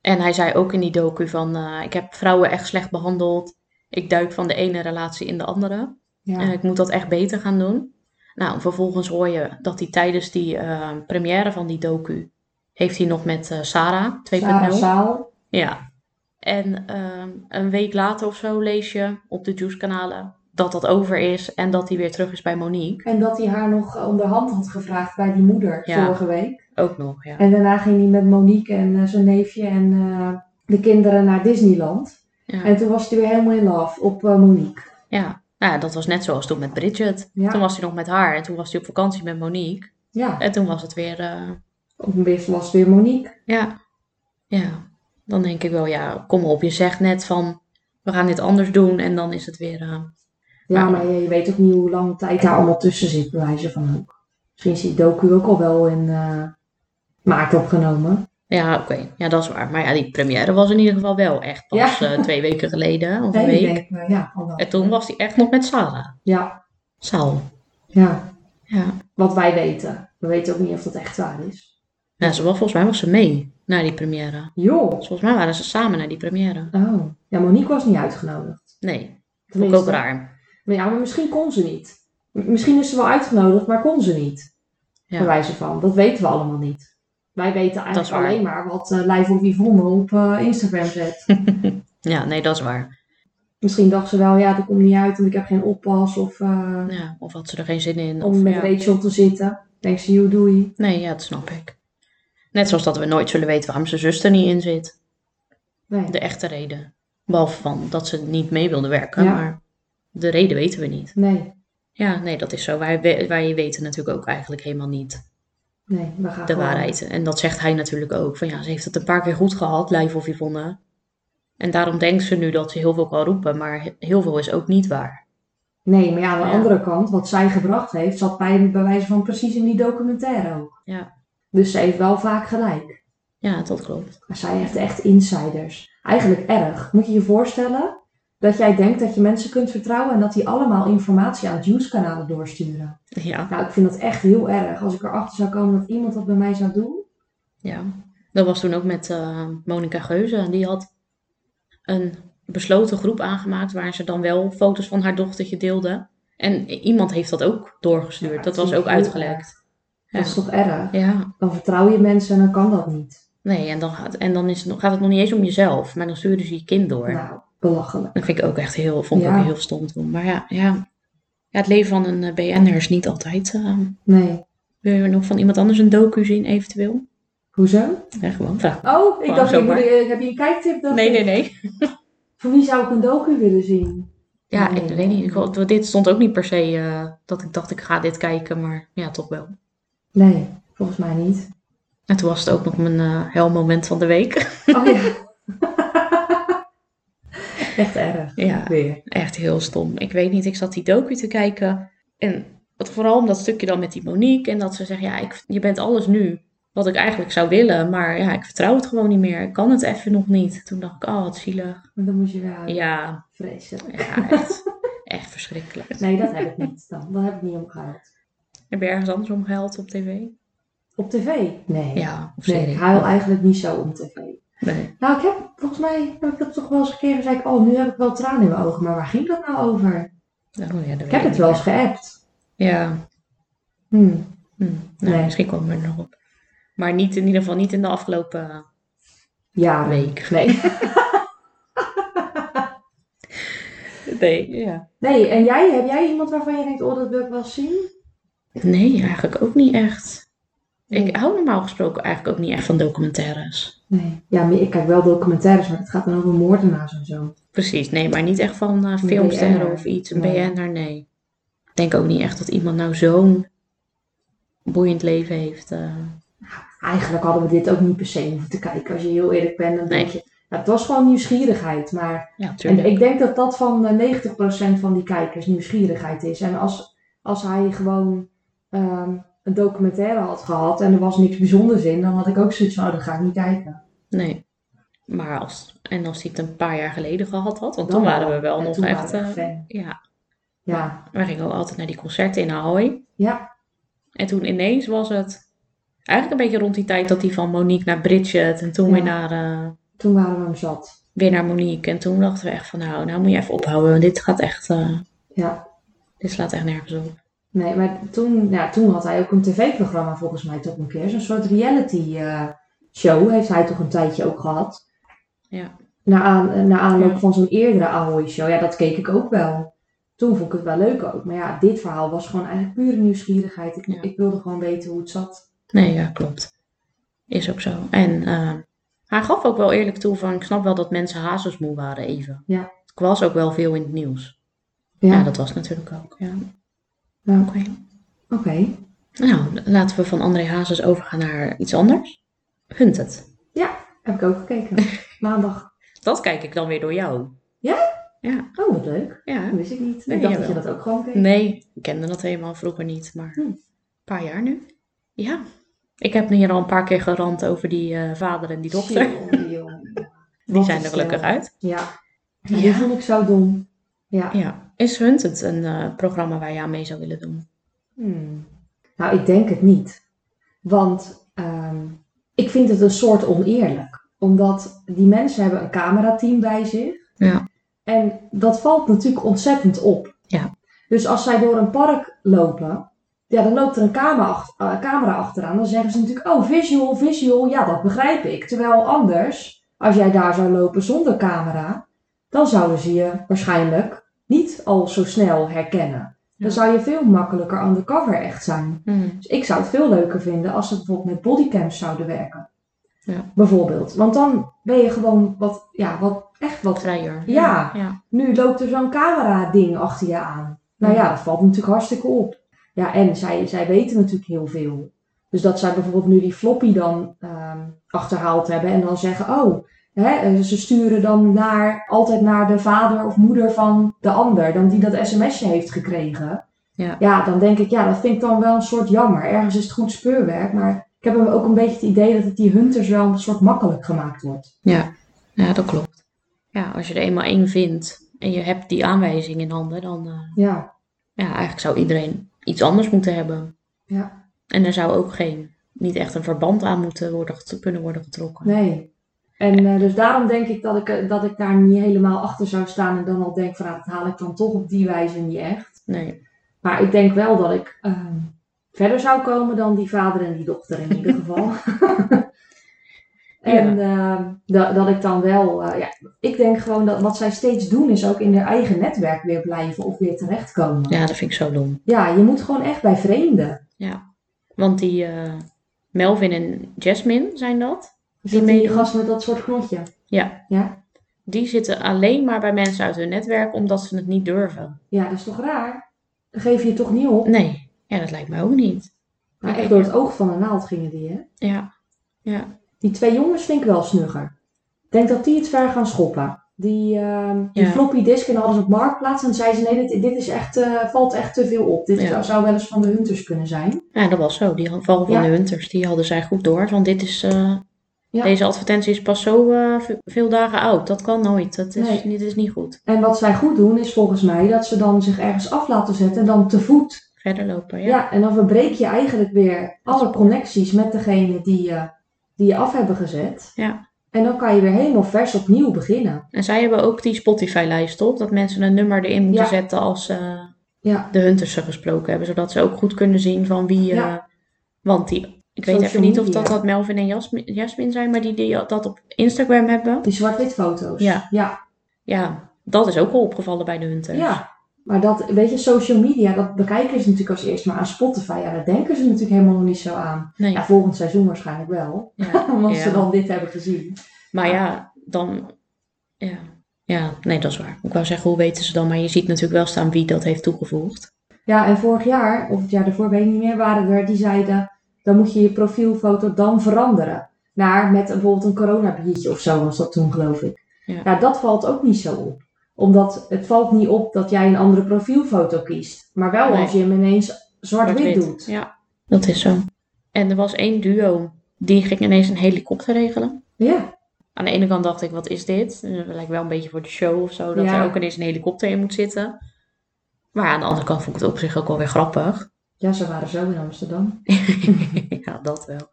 En hij zei ook in die docu van, eh, ik heb vrouwen echt slecht behandeld. Ik duik van de ene relatie in de andere.
Ja.
En ik moet dat echt beter gaan doen. Nou, vervolgens hoor je dat hij tijdens die eh, première van die docu... heeft hij nog met eh, Sarah 2.0.
Sarah Saal.
Ja. En ehm, een week later of zo lees je op de Juice-kanalen... dat dat over is en dat hij weer terug is bij Monique.
En dat hij haar nog eh, onderhand had gevraagd bij die moeder
Ja.
vorige week.
Ook nog, ja.
En daarna ging hij met Monique en eh, zijn neefje en eh, de kinderen naar Disneyland.
Ja.
En toen was hij weer helemaal in love op eh, Monique.
Ja, nou, ja, dat was net zoals toen met Bridget.
Ja.
Toen was hij nog met haar en toen was hij op vakantie met Monique.
Ja,
En toen was het weer, eh,
op een wist was het weer Monique.
ja, ja. Dan denk ik wel, ja, kom op, je zegt net van, we gaan dit anders doen en dan is het weer, eh,
Ja,
Ja.
maar je, je weet ook niet hoe lang tijd daar allemaal tussen zit, bij wijze van ook. Misschien is die docu ook al wel in eh, maart opgenomen.
ja, oké, ja, dat is waar. Maar ja, die première was in ieder geval wel echt pas
Ja.
eh, twee weken geleden of een
Nee, ik
week.
denk, eh, ja, al wel.
En toen was hij echt nog met Sarah.
ja,
Saal.
ja,
Ja.
wat wij weten. We weten ook niet of dat echt waar is.
Nou, ze was, volgens mij was ze mee naar die première.
Joh.
Dus volgens mij waren ze samen naar die première.
Oh, ja, Monique was niet uitgenodigd.
Nee, vond ik ook raar.
Maar ja, maar misschien kon ze niet. M- misschien is ze wel uitgenodigd, maar kon ze niet.
Ja.
Bij wijze van. Dat weten we allemaal niet. Wij weten
Dat is
eigenlijk
waar.
alleen maar wat eh Lijf op Yvonne op eh, Instagram zet.
Ja, nee, dat is waar.
misschien dacht ze wel, ja, dat komt niet uit, want ik heb geen oppas. Of eh,
Ja, of had ze er geen zin in.
om
of,
met
ja.
Rachel te zitten. Denkt ze, joh, doei.
Nee, ja, dat snap ik. Net zoals dat we nooit zullen weten waarom zijn zus er niet in zit.
Nee.
De echte reden. Behalve van dat ze niet mee wilde werken,
Ja.
maar de reden weten we niet.
nee,
Ja, nee, dat is zo. Wij, we- wij weten natuurlijk ook eigenlijk helemaal niet
nee, we gaan
de
gewoon-
waarheid. En dat zegt hij natuurlijk ook. Van ja, ze heeft het een paar keer goed gehad, lijf of Yvonne. En daarom denkt ze nu dat ze heel veel kan roepen, maar he- heel veel is ook niet waar.
Nee, maar ja, aan de
Ja.
andere kant, wat zij gebracht heeft, zat bij, bij wijze van precies in die documentaire ook.
Ja.
Dus ze heeft wel vaak gelijk.
Ja, dat klopt.
Maar zij heeft echt insiders. Eigenlijk erg. Moet je je voorstellen dat jij denkt dat je mensen kunt vertrouwen en dat die allemaal informatie aan het nieuwskanalen doorsturen.
Ja,
Nou, ik vind dat echt heel erg. Als ik erachter zou komen dat iemand dat bij mij zou doen.
Ja, dat was toen ook met eh Monika Geuze. Die had een besloten groep aangemaakt waar ze dan wel foto's van haar dochtertje deelde. En i- iemand heeft dat ook doorgestuurd.
Ja,
dat
dat
was
vind
ook
ik heel
uitgelekt.
Dat is toch erg?
Ja,
Dan vertrouw je mensen en dan kan dat niet.
nee, en dan, gaat, en dan is het, nog- gaat het nog niet eens om jezelf, maar dan sturen ze je kind door.
Nou, belachelijk.
Dat vind ik ook echt heel, vond ik
Ja.
ook heel stom toen. Maar ja, ja. ja het leven van een eh, BN'er is niet altijd. eh,
Nee.
wil je nog van iemand anders een docu zien eventueel?
Hoezo?
Ja, gewoon vraag.
Oh, ik
Gewoon
dacht, ik
zomaar.
moet- eh, heb je een kijktip? dacht
Nee,
ik.
nee, nee.
Voor wie zou ik een docu willen zien?
Ja,
Nee.
ik weet niet. Ik, wou- dit stond ook niet per se eh, dat ik dacht ik ga dit kijken, maar ja, toch wel.
Nee, volgens mij niet.
En toen was het ook nog mijn eh, hel moment van de week.
Oh ja. echt erg.
ja,
Weer.
echt heel stom. Ik weet niet, ik zat die docu te kijken en het- vooral om dat stukje dan met die Monique en dat ze zegt, ja, ik, je bent alles nu wat ik eigenlijk zou willen, maar ja, ik vertrouw het gewoon niet meer. Ik kan het even nog niet. Toen dacht ik, oh, wat zielig.
Want dan moet je weer
Ja,
vrezen.
ja echt, echt verschrikkelijk.
Nee, dat heb ik niet dan. Dat heb ik niet omgehuild.
Heb je ergens anders om gehuild op tv?
Op tv? Nee.
Ja, of
nee,
serie.
ik huil eigenlijk niet zo om tv.
Nee.
Nou, ik heb volgens mij heb ik dat toch wel eens gekregen. Zei ik, oh, nu heb ik wel tranen in mijn ogen. Maar waar ging dat nou over?
Oh, ja, dat
Ik heb het wel eens geappt.
Ja,
Hm.
hm. Nou,
Nee.
misschien komen we er nog op. Maar niet, in ieder geval niet in de afgelopen
Ja,
week.
Nee.
Nee, ja.
Nee, en jij? Heb jij iemand waarvan je denkt, oh, dat wil ik wel zien?
nee eigenlijk ook niet echt.
Nee.
Ik hou normaal gesproken eigenlijk ook niet echt van documentaires.
Nee. Ja, maar ik kijk wel documentaires, maar het gaat dan over moordenaars en zo.
Precies, nee, maar niet echt van eh,
Een
filmsterren
BN'er.
of iets. Een
Nee.
BN'er, nee. Ik denk ook niet echt dat iemand nou zo'n boeiend leven heeft. eh.
Eigenlijk hadden we dit ook niet per se hoeven te kijken. Als je heel eerlijk bent, dan denk
Nee.
je... Nou, het was gewoon nieuwsgierigheid, maar...
ja, natuurlijk.
En ik denk dat dat van eh, 90% van die kijkers nieuwsgierigheid is. En als, als hij gewoon ehm, een documentaire had gehad en er was niks bijzonders in, dan had ik ook zoiets van, oh, dat ga ik niet kijken.
Nee. Maar als, en als hij het een paar jaar geleden gehad had, want
Dan
toen waren we wel
En
nog
toen
echt...
waren we
eh,
fan.
ja,
Ja,
We gingen ook altijd naar die concerten in Ahoy.
Ja.
En toen ineens was het eigenlijk een beetje rond die tijd dat hij van Monique naar Bridget en toen
Ja.
weer, naar, eh,
toen waren we hem zat.
weer naar Monique. En toen dachten we echt van nou, nou moet je even ophouden, want dit gaat echt, eh,
Ja.
dit slaat echt nergens op.
Nee, maar toen, ja, toen had hij ook een tv-programma volgens mij toch een keer. Zo'n soort reality eh, show heeft hij toch een tijdje ook gehad.
Ja.
Naar, aan, naar aanloop
Ja.
van zo'n eerdere Ahoy show. Ja, dat keek ik ook wel. Toen vond ik het wel leuk ook. Maar ja, dit verhaal was gewoon eigenlijk pure nieuwsgierigheid. Ik,
Ja.
ik wilde gewoon weten hoe het zat.
Nee, ja, klopt. Is ook zo. En eh, hij gaf ook wel eerlijk toe van ik snap wel dat mensen hazelsmoe waren even.
Ja.
Het was ook wel veel in het nieuws. Ja, dat was natuurlijk ook. Ja.
Ja.
Oké.
oké.
Nou, laten we van André Hazes overgaan naar iets anders. Hunt het.
Heb ik ook gekeken. Maandag.
Dat kijk ik dan weer door jou.
Oh, wat leuk.
Ja.
Dat wist ik niet.
Nee,
ik dacht
jawel.
dat je dat ook gewoon keek.
Nee, ik kende dat helemaal vroeger niet, maar
Hm.
een paar jaar nu. Ja. Ik heb hier al een paar keer gerand over die eh, vader en die dochter.
Jongen, jongen.
Die
Wat
zijn
een
er gelukkig
stel.
uit.
eh, Ja. ja. Die vond ik zo dom. Ja.
ja. Is Hunt het een eh, programma waar je aan mee zou willen doen?
Hmm. Nou, ik denk het niet. Want ehm, ik vind het een soort oneerlijk. Omdat die mensen hebben een camerateam bij zich.
Ja.
En dat valt natuurlijk ontzettend op.
Ja.
Dus als zij door een park lopen, ja, dan loopt er een camera, ach- eh, camera achteraan. Dan zeggen ze natuurlijk, oh, visual, visual. Ja, dat begrijp ik. Terwijl anders, als jij daar zou lopen zonder camera, dan zouden ze je waarschijnlijk niet al zo snel herkennen. Dan
Ja.
zou je veel makkelijker undercover echt zijn.
Hm.
Dus ik zou het veel leuker vinden als ze bijvoorbeeld met bodycams zouden werken.
Ja.
Bijvoorbeeld. Want dan ben je gewoon wat, ja, wat, echt wat
Vrijer.
Ja.
ja.
nu loopt er zo'n camera-ding achter je aan. Nou ja, dat valt natuurlijk hartstikke op. Ja, en zij, zij weten natuurlijk heel veel. Dus dat zij bijvoorbeeld nu die floppy dan ehm, achterhaald hebben en dan zeggen: Oh, hè, eh, ze sturen dan naar, altijd naar de vader of moeder van de ander, dan die dat sms'je heeft gekregen.
Ja.
ja, dan denk ik, ja, dat vind ik dan wel een soort jammer. Ergens is het goed speurwerk, maar ik heb hem ook een beetje het idee dat het die hunters wel een soort makkelijk gemaakt wordt.
Ja, dat klopt. Ja, als je er eenmaal één vindt en je hebt die aanwijzing in handen, dan eh,
Ja.
ja, eigenlijk zou iedereen iets anders moeten hebben.
Ja.
En er zou ook geen, niet echt een verband aan moeten worden, get- kunnen worden getrokken.
Nee. En eh, dus daarom denk ik dat, ik eh, dat ik daar niet helemaal achter zou staan. En dan al denk van, nou, dat haal ik dan toch op die wijze niet echt.
nee.
Maar ik denk wel dat ik ehm, verder zou komen dan die vader en die dochter in ieder geval. en ehm, da- dat ik dan wel, eh, ja, ik denk gewoon dat wat zij steeds doen is ook in haar eigen netwerk weer blijven of weer terechtkomen. Ja,
Ja, dat vind ik zo dom.
je moet gewoon echt bij vreemden.
Want die eh, Melvin en Jasmine zijn dat.
Is
Die
dat die
meedoen.
gast met dat soort knotje.
Die zitten alleen maar bij mensen uit hun netwerk omdat ze het niet durven.
Ja, dat is toch raar? Dan geef je het toch niet op?
Nee, ja, dat lijkt mij ook niet.
Maar echt door het oog van een naald gingen die, hè?
Ja,
Die twee jongens vind ik wel snugger. Ik denk dat die het ver gaan schoppen. Die, ehm, die
Ja.
floppy disk en dan hadden ze op marktplaats. En dan zeiden ze: nee, dit, dit is echt, eh, valt echt te veel op. Dit
Ja.
zou wel eens van de Hunters kunnen zijn.
Ja, dat was zo. Die val van
Ja.
de Hunters, die hadden zij goed door. Van dit is, eh,
Ja.
deze advertentie is pas zo eh, ve- veel dagen oud. Dat kan nooit. Dat is,
Nee.
dit is niet goed.
En wat zij goed doen is volgens mij dat ze dan zich ergens af laten zetten en dan te voet
Verder lopen, ja.
Ja. en dan verbreek je eigenlijk weer alle connecties met degene die je, die je af hebben gezet.
Ja.
En dan kan je weer helemaal vers opnieuw beginnen.
En zij hebben ook die Spotify-lijst, toch? Dat mensen een nummer erin moeten
Ja.
zetten als eh,
Ja.
de Hunters ze gesproken hebben. Zodat ze ook goed kunnen zien van wie... eh,
Ja.
want die, ik weet
Social
even niet of
media.
dat, dat Melvin en Jasmin, Jasmin zijn, maar die, die dat op Instagram hebben.
Die zwart-wit foto's.
Ja.
Ja.
Ja, dat is ook al opgevallen bij de Hunters.
ja. Maar dat, weet je, social media, dat bekijken ze natuurlijk als eerst. Maar aan Spotify, ja, daar denken ze natuurlijk helemaal nog niet zo aan.
Nee.
Ja, volgend seizoen waarschijnlijk wel.
Ja.
Omdat
Ja.
ze dan dit hebben gezien.
Maar ja, dan. Ja. ja, nee, dat is waar. Ik wou zeggen, hoe weten ze dan? Maar je ziet natuurlijk wel staan wie dat heeft toegevoegd.
Ja, en vorig jaar, of het jaar daarvoor, weet ik niet meer, waren er die zeiden... dan moet je je profielfoto dan veranderen. Naar met bijvoorbeeld een coronabiertje of zo was dat toen, geloof ik. Nou,
Ja.
dat valt ook niet zo op. Omdat het valt niet op dat jij een andere profielfoto kiest. Maar wel
Nee.
als je hem ineens zwart-wit
Zwart-wit.
doet.
Ja, dat is zo. En er was één duo die ging ineens een helikopter regelen.
Ja,
Aan de ene kant dacht ik, wat is dit? Eh, Het lijkt wel een beetje voor de show of zo, dat
Ja.
er ook ineens een helikopter in moet zitten. Maar aan de andere kant vond ik het op zich ook wel weer grappig.
ja ze waren zo in Amsterdam.
ja, dat wel.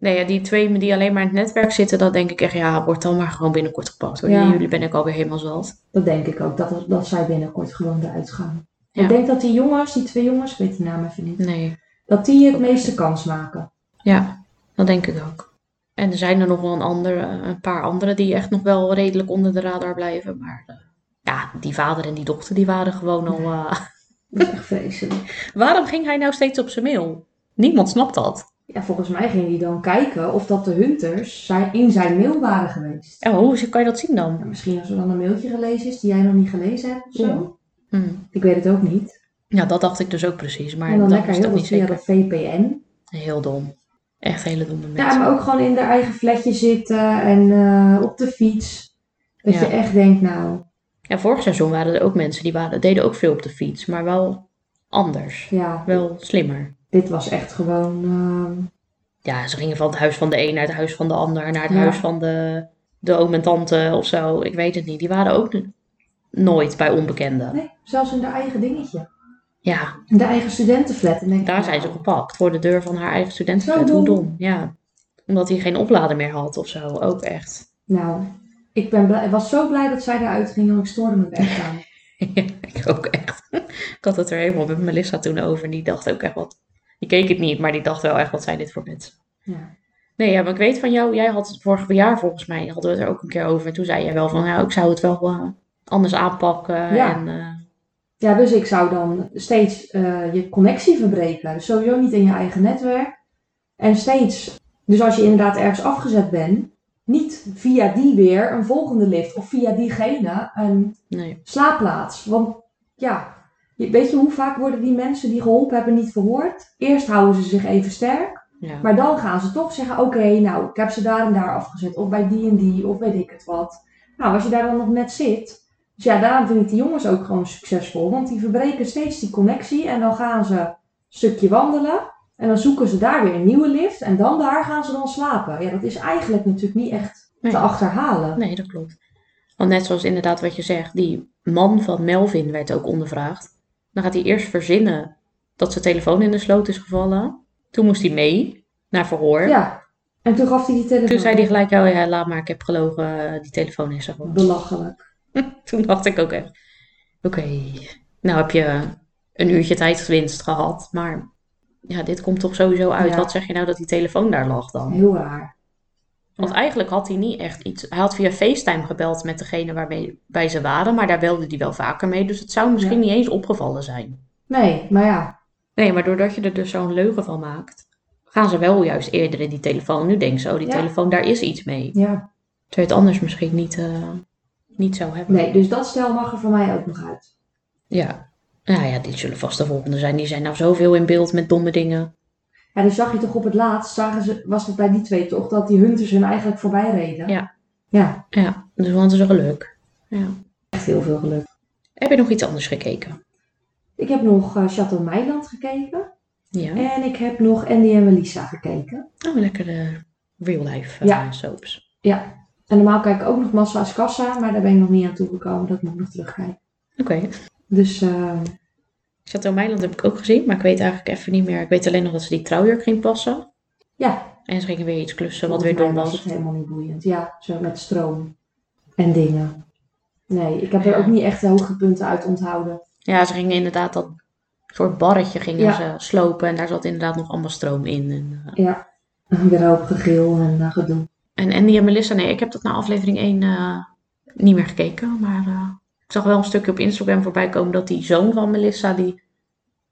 Nee, ja, die twee die alleen maar in het netwerk zitten, dat denk ik echt, ja, wordt dan maar gewoon binnenkort gepakt. hoor.
Ja.
Jullie ben ik alweer helemaal zat.
Dat denk ik ook, dat, dat zij binnenkort gewoon eruit gaan.
Ja.
Ik denk dat die jongens, die twee jongens, ik weet die naam even niet...
Nee,
dat die het meeste kans maken.
Ja, dat denk ik ook. En er zijn er nog wel een, andere, een paar anderen die echt nog wel redelijk onder de radar blijven. Maar eh, ja, die vader en die dochter die waren gewoon al... eh,
Dat is echt vreselijk.
waarom ging hij nou steeds op zijn mail? Niemand snapt dat.
Ja, volgens mij ging hij dan kijken of dat de hunters zijn, in zijn mail waren geweest.
En Oh, hoe kan je dat zien
Ja,
dan?
misschien als er dan een mailtje gelezen is die jij nog niet gelezen hebt of zo.
Ja. Hm.
Ik weet het ook niet.
Ja, dat dacht ik dus ook precies. Maar
en dan
dat
lekker
was
heel
toch
dat
niet
via
zeker.
dat VPN.
Heel dom. Echt hele domme
Ja,
mensen.
maar ook gewoon in haar eigen flatje zitten en eh, op de fiets. Dat
Ja.
je echt denkt, nou,
En vorig seizoen waren er ook mensen die waren, deden ook veel op de fiets. Maar wel anders.
ja,
Wel slimmer.
dit was echt gewoon... ehm,
Ja, ze gingen van het huis van de een naar het huis van de ander, naar het
Ja.
huis van de, de oom en tante of zo. Ik weet het niet. Die waren ook n- nooit bij onbekenden.
nee, zelfs in haar eigen dingetje.
Ja,
In de eigen studentenflat. En denk ik,
daar
nou,
zijn ze gepakt voor de deur van haar eigen studentenflat.
Zo
Hoe
dom.
dom. Ja, omdat hij geen oplader meer had of zo. Ook echt.
Nou, ik ben blij, ik was zo blij dat zij eruit ging, want ik stoorde me echt aan.
Ja, ik ook echt. Ik had het er helemaal met Melissa toen over. En die dacht ook echt wat. Die keek het niet, maar die dacht wel echt wat zijn dit voor mensen.
Ja.
Nee, ja, maar ik weet van jou, jij had het vorig jaar volgens mij, hadden we het er ook een keer over. En toen zei jij wel van, nou, ik zou het wel eh, anders aanpakken.
Ja.
En, eh,
Ja, dus ik zou dan steeds eh, je connectie verbreken. Dus sowieso niet in je eigen netwerk. En steeds, dus als je inderdaad ergens afgezet bent, niet via die weer een volgende lift of via diegene een
nee,
slaapplaats. Want ja, je- weet je hoe vaak worden die mensen die geholpen hebben niet verhoord? Eerst houden ze zich even sterk,
ja.
maar dan gaan ze toch zeggen: oké, nou, ik heb ze daar en daar afgezet. Of bij die en die, of weet ik het wat. Nou, als je daar dan nog net zit. Dus ja, daarom vind ik die jongens ook gewoon succesvol. Want die verbreken steeds die connectie. En dan gaan ze een stukje wandelen. En dan zoeken ze daar weer een nieuwe lift. En dan daar gaan ze dan slapen. Ja, dat is eigenlijk natuurlijk niet echt
Nee.
te achterhalen.
nee, dat klopt. Want net zoals inderdaad wat je zegt, die man van Melvin werd ook ondervraagd. Dan gaat hij eerst verzinnen dat zijn telefoon in de sloot is gevallen. Toen moest hij mee naar verhoor.
Ja. En toen gaf hij die telefoon.
Toen zei hij gelijk, oh ja, laat maar, ik heb gelogen, eh, die telefoon is er gewoon.
Belachelijk.
Toen dacht ik ook echt, oké, nou heb je een uurtje tijdswinst gehad, maar ja, dit komt toch sowieso uit.
Ja.
Wat zeg je nou dat die telefoon daar lag dan?
Heel raar.
Want eigenlijk had hij niet echt iets. Hij had via FaceTime gebeld met degene waarmee bij ze waren, maar daar belde hij wel vaker mee, dus het zou misschien niet eens opgevallen zijn.
Nee, maar ja.
Nee, maar doordat je er dus zo'n leugen van maakt, gaan ze wel juist eerder in die telefoon. Nu denken ze, oh, die
Ja.
telefoon, daar is iets mee.
ja.
Terwijl je het anders misschien niet, eh, niet zou hebben.
Nee, dus dat stel mag er voor mij ook nog uit.
Ja. Nou ja, die zullen vast de volgende zijn. Die zijn nou zoveel in beeld met domme dingen.
Ja, dan zag je toch op het laatst, zagen ze, was het bij die twee toch, dat die hunters hun eigenlijk voorbij reden.
Ja.
Ja,
Ja, dus we hadden ze geluk. Ja.
echt heel veel geluk.
Heb je nog iets anders gekeken?
Ik heb nog eh, Chateau Meiland gekeken.
Ja.
En ik heb nog Andy en Melissa gekeken.
Oh, lekkere real life eh,
Ja.
soaps.
Ja. En normaal kijk ik ook nog Massa's Kassa, maar daar ben ik nog niet aan toegekomen. Dat moet ik nog terugkijken.
Oké.
Dus eh,
Chateau Meiland heb ik ook gezien, maar ik weet eigenlijk even niet meer. Ik weet alleen nog dat ze die trouwjurk ging passen.
ja.
En ze gingen weer iets klussen wat
volgens
weer
mij
dom
was het
was.
helemaal niet boeiend. Ja, zo met stroom en dingen. Nee, ik heb er
Ja.
ook niet echt de hoogtepunten uit onthouden.
Ja, ze gingen inderdaad dat soort barretje gingen
Ja.
ze slopen. En daar zat inderdaad nog allemaal stroom in. En, eh,
Ja. Weer een hoop gegil en eh, gedoe.
en Andy en Melissa, nee, ik heb dat na aflevering 1 eh, niet meer gekeken. Maar eh, ik zag wel een stukje op Instagram voorbij komen dat die zoon van Melissa die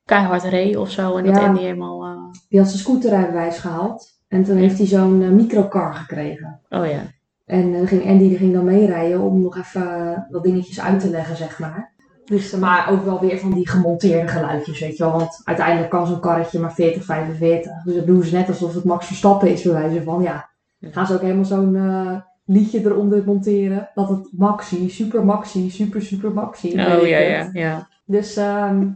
keihard reed of zo. En dat
Ja.
Andy helemaal... eh,
Die had zijn scooterrijbewijs gehaald. En toen heeft hij zo'n eh, microcar gekregen.
oh ja.
En eh, ging Andy die ging dan meerijden om nog even eh, wat dingetjes uit te leggen, zeg maar. Dus, eh, maar ook wel weer van die gemonteerde geluidjes, weet je wel. Want uiteindelijk kan zo'n karretje maar 40, 45. Dus dat doen ze net alsof het Max Verstappen is, bij wijze van. Ja, gaan ze ook helemaal zo'n eh, liedje eronder monteren. Dat het Maxi, super Maxi, super super Maxi.
Oh
weet
ja,
ik
ja,
het.
ja.
Dus ehm,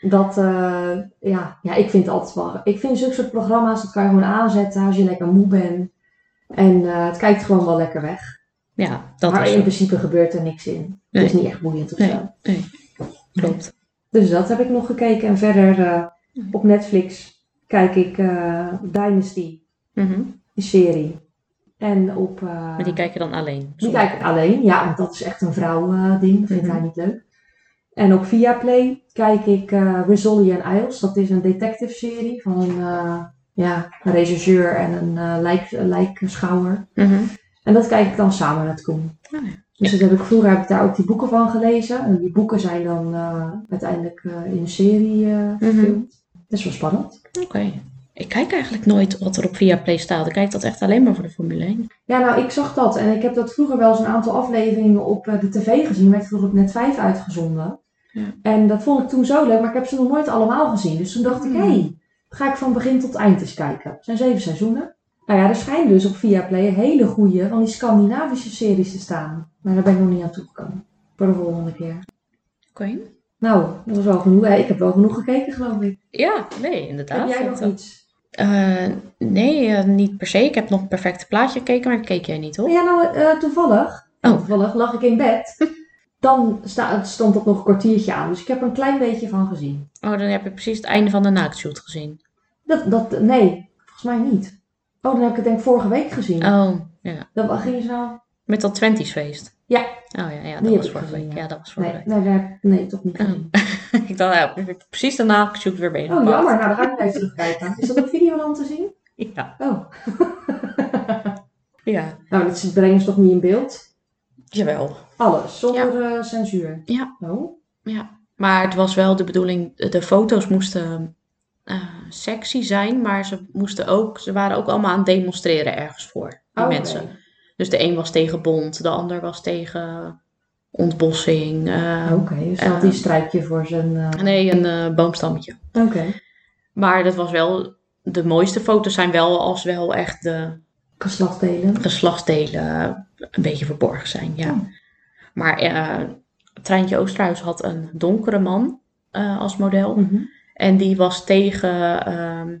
dat, eh, ja, ja, ik vind het altijd wel... Ik vind zulke soort programma's, dat kan je gewoon aanzetten als je lekker moe bent. En eh, het kijkt gewoon wel lekker weg
Ja, dat
maar
was
in
het.
principe gebeurt er niks in.
Nee.
Het is niet echt boeiend of
Nee.
zo.
Klopt.
Dus dat heb ik nog gekeken. En verder eh, op Netflix kijk ik eh, Dynasty,
Mhm.
de serie. En op... eh,
Maar die kijk je dan alleen?
die
zonder-
kijk ik alleen. Ja, want dat is echt een vrouwending. ding. dat vindt
Mhm.
hij niet leuk. En op Viaplay kijk ik eh Rizzoli and Isles. Dat is een detective serie van een, eh, ja, een regisseur en een eh, lijk, een lijkschouwer.
Mhm.
En dat kijk ik dan samen met Koen.
Ah, ja.
Dus dat heb ik, vroeger heb ik daar ook die boeken van gelezen. En die boeken zijn dan eh, uiteindelijk eh, in een serie eh,
Mhm.
verfilmd. Dat is wel spannend.
Oké. Ik kijk eigenlijk nooit wat er op Viaplay staat. Ik kijk dat echt alleen maar voor de Formule 1.
Ja, nou, ik zag dat. En ik heb dat vroeger wel eens een aantal afleveringen op eh, de tv gezien. Werd vroeger op Net 5 uitgezonden.
Ja.
En dat vond ik toen zo leuk. Maar ik heb ze nog nooit allemaal gezien. Dus toen dacht ik,
Hmm.
hé, hey, ga ik van begin tot eind eens kijken. Het zijn zeven seizoenen. Nou ja, er schijnen dus op Viaplay hele goede van die Scandinavische series te staan. Maar daar ben ik nog niet aan toegekomen. Voor de volgende keer.
Oké.
Nou, dat was wel genoeg. hè. Ik heb wel genoeg gekeken, geloof ik.
Ja, nee, inderdaad.
heb jij nog
Dat-
iets?
Eh, nee, eh, niet per se. Ik heb nog een perfecte plaatje gekeken, maar dat keek jij niet, hoor.
Ja, nou, eh, toevallig.
Oh.
Toevallig lag ik in bed. Dan sta- stond dat nog een kwartiertje aan. Dus ik heb er een klein beetje van gezien.
Oh, dan heb je precies het einde van de naaktshoot gezien.
Dat, dat, nee, volgens mij niet. Oh, dan heb ik het denk ik vorige week gezien.
Oh, ja.
Dat wat ging ze nou...
Met dat Twenties feest.
Ja.
Oh ja, ja dat
Die heb
was
ik
vorige
gezien,
week.
ja.
Ja, dat was vorige
Nee, nee, daar- nee, toch niet
week.
gezien.
Oh. ik dacht, ja, ik heb precies de naaktshoot weer bezig.
Oh, jammer. Nou, dan ga ik even terugkijken. Is dat op video dan te zien?
Ja.
Oh.
ja.
Nou, dat brengt ons toch niet in beeld?
Jawel.
Alles, zonder eh, censuur.
Ja.
Oh.
Maar het was wel de bedoeling, de foto's moesten eh, sexy zijn, maar ze, moesten ook, ze waren ook allemaal aan het demonstreren ergens voor, die
Oh, oké.
mensen. Dus de een was tegen bond, de ander was tegen ontbossing. eh,
Oké, dus dat
Eh,
die strijkje voor zijn... eh,
Nee, een eh, boomstammetje.
Oké.
Maar dat was wel, de mooiste foto's zijn wel als wel echt de
Geslachtsdelen.
geslachtsdelen een beetje verborgen zijn, ja.
Hmm.
Maar eh Treintje Oosterhuis had een donkere man eh, als model. En die was tegen ehm,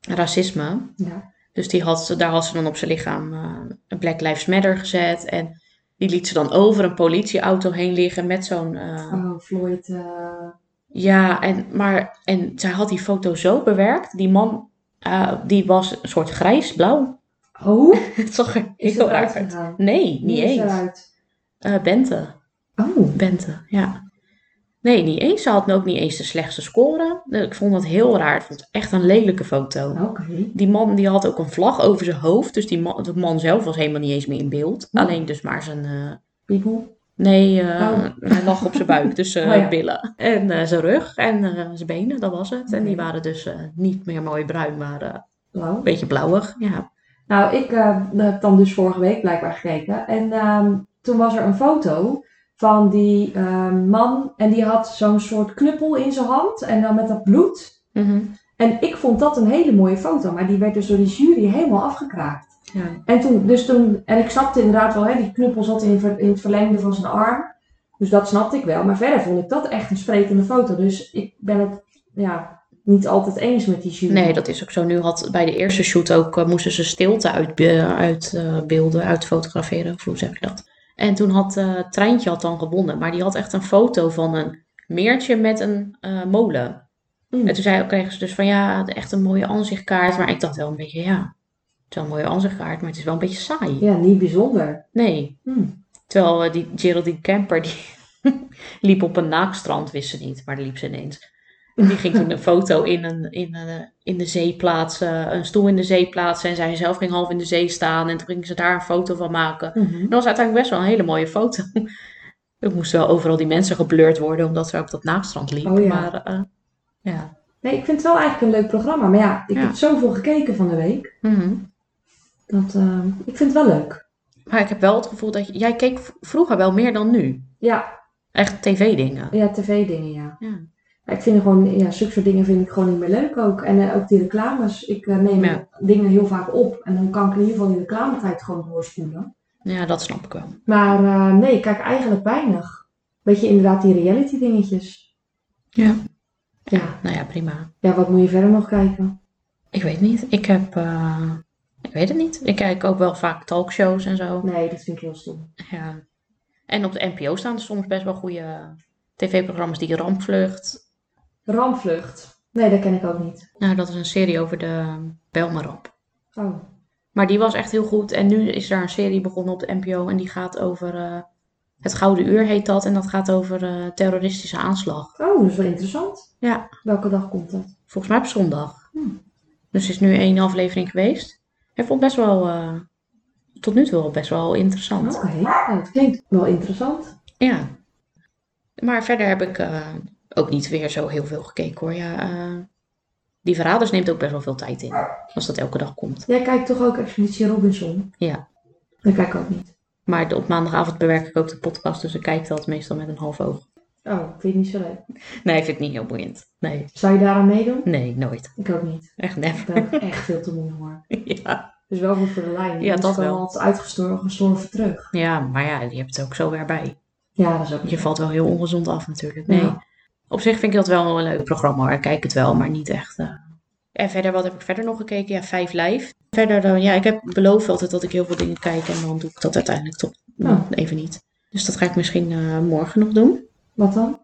racisme.
Ja.
Dus die had, ze- daar had ze dan op zijn lichaam eh, een Black Lives Matter gezet. En die liet ze dan over een politieauto heen liggen met zo'n... eh,
Oh, Floyd. eh,
Ja, en, maar, en zij had die foto zo bewerkt. Die man, eh, die was een soort grijs-blauw.
Oh,
Het zag er
is
heel
eruit
raar uit.
gegaan?
Nee, niet
Die is
eens.
eruit.
Eh, Bente.
Oh,
Bente, ja. Nee, niet eens. Ze had ook niet eens de slechtste score. Ik vond dat heel raar. Ik vond het echt een lelijke foto.
oké.
Die man die had ook een vlag over zijn hoofd. Dus die man, de man zelf was helemaal niet eens meer in beeld.
Hm.
Alleen dus maar zijn... eh,
People.
nee, eh,
Oh.
hij lag op zijn buik. Dus zijn
Oh ja.
billen. En eh, zijn rug en eh, zijn benen, dat was het. En die
Oké.
waren dus eh, niet meer mooi bruin, maar eh,
Wow.
een beetje blauwig. Ja.
Nou, ik eh, heb dan dus vorige week blijkbaar gekeken. En ehm, toen was er een foto van die ehm, man. En die had zo'n soort knuppel in zijn hand. En dan met dat bloed.
Mhm.
En ik vond dat een hele mooie foto. Maar die werd dus door de jury helemaal afgekraakt.
Ja.
En toen, dus toen, en ik snapte inderdaad wel, hè, die knuppel zat in, ver- in het verlengde van zijn arm. Dus dat snapte ik wel. Maar verder vond ik dat echt een sprekende foto. Dus ik ben het ja, niet altijd eens met die jury.
Nee, dat is ook zo. Nu had bij de eerste shoot ook, eh, moesten ze stilte uitbeelden, uit, eh, beelden, uitfotograferen, of hoe zeg je dat? En toen had eh Treintje had dan gewonnen, maar die had echt een foto van een meertje met een eh, molen.
Mm.
En toen zei, kregen ze dus van ja, echt een mooie aanzichtkaart. Maar ik dacht wel een beetje, ja, het is wel een mooie aanzichtkaart, maar het is wel een beetje saai.
Ja, niet bijzonder.
Nee.
Hmm.
Terwijl eh, die Geraldine Kemper, die liep op een naakstrand, wist ze niet, maar daar liep ze ineens. En die ging toen een foto in, een, in, een, eh, in de zee plaatsen, een stoel in de zee plaatsen. En zij zelf ging half in de zee staan en toen ging ze daar een foto van maken. En dat was uiteindelijk best wel een hele mooie foto. Er moesten wel overal die mensen geblurred worden, omdat ze op dat naakstrand liepen.
Oh ja.
Maar eh, ja.
Nee, ik vind het wel eigenlijk een leuk programma. Maar ja, ik
Ja.
heb zoveel gekeken van de week.
Mhm.
Dat, eh, ik vind het wel leuk.
Maar ik heb wel het gevoel dat... je- Jij keek v- vroeger wel meer dan nu.
Ja,
Echt tv-dingen.
ja tv-dingen, ja.
Ja.
Maar Ik vind gewoon, ja, zulke soort dingen vind ik gewoon niet meer leuk ook. En eh, ook die reclames. Ik eh, neem
Ja.
dingen heel vaak op. En dan kan ik in ieder geval die reclametijd gewoon doorspoelen.
Ja, dat snap ik wel.
Maar eh, nee, ik kijk eigenlijk weinig. Beetje inderdaad die reality dingetjes.
Ja.
Ja.
Nou ja, prima.
ja, wat moet je verder nog kijken?
Ik weet niet. Ik heb. eh, ik weet het niet. Ik kijk ook wel vaak talkshows en zo.
Nee, dat vind ik heel stom.
Ja. En op de NPO staan er soms best wel goede tv-programma's. Die Rampvlucht.
Ramvlucht. Nee, dat ken ik ook niet.
Nou, dat is een serie over de Belmaramp.
Oh,
Maar die was echt heel goed. En nu is daar een serie begonnen op de NPO. En die gaat over. eh, het Gouden Uur heet dat. En dat gaat over eh, terroristische aanslag.
oh dat is wel interessant.
Ja.
Welke dag komt dat?
Volgens mij op zondag.
Hm.
Dus er is nu één aflevering geweest. Ik vond best wel. eh, tot nu toe wel best wel interessant.
Oké, nou, dat klinkt wel interessant.
Ja. Maar verder heb ik eh, ook niet weer zo heel veel gekeken hoor. Ja, eh, die Verraders neemt ook best wel veel tijd in. Als dat elke dag komt.
Jij kijkt toch ook Expeditie Robinson?
Ja.
Dat kijk ik ook niet.
Maar de- op maandagavond bewerk ik ook de podcast. Dus ik kijk dat meestal met een half oog.
Oh, vind je niet zo leuk.
Nee, vind ik niet heel boeiend. Nee.
Zou je daaraan meedoen?
Nee, nooit.
Ik ook niet.
Echt
Ik
never.
ben ook echt veel te moe voor.
Ja.
Dus wel goed voor de lijn.
Ja,
Mensen
dat
komen
wel.
altijd uitgestorven gestorven terug.
ja, maar ja, je hebt het ook zo weer bij.
Ja, dat is ook niet
Je valt wel heel ongezond af natuurlijk. Nee.
Ja.
Op zich vind ik dat wel een leuk programma hoor. Ik kijk het wel, maar niet echt. eh. En verder, wat heb ik verder nog gekeken? Ja, Vijf Lijf. Verder, dan, ja, ik heb beloofd altijd dat ik heel veel dingen kijk. En dan doe ik dat uiteindelijk toch
Ja.
even niet. Dus dat ga ik misschien eh, morgen nog doen.
Wat dan?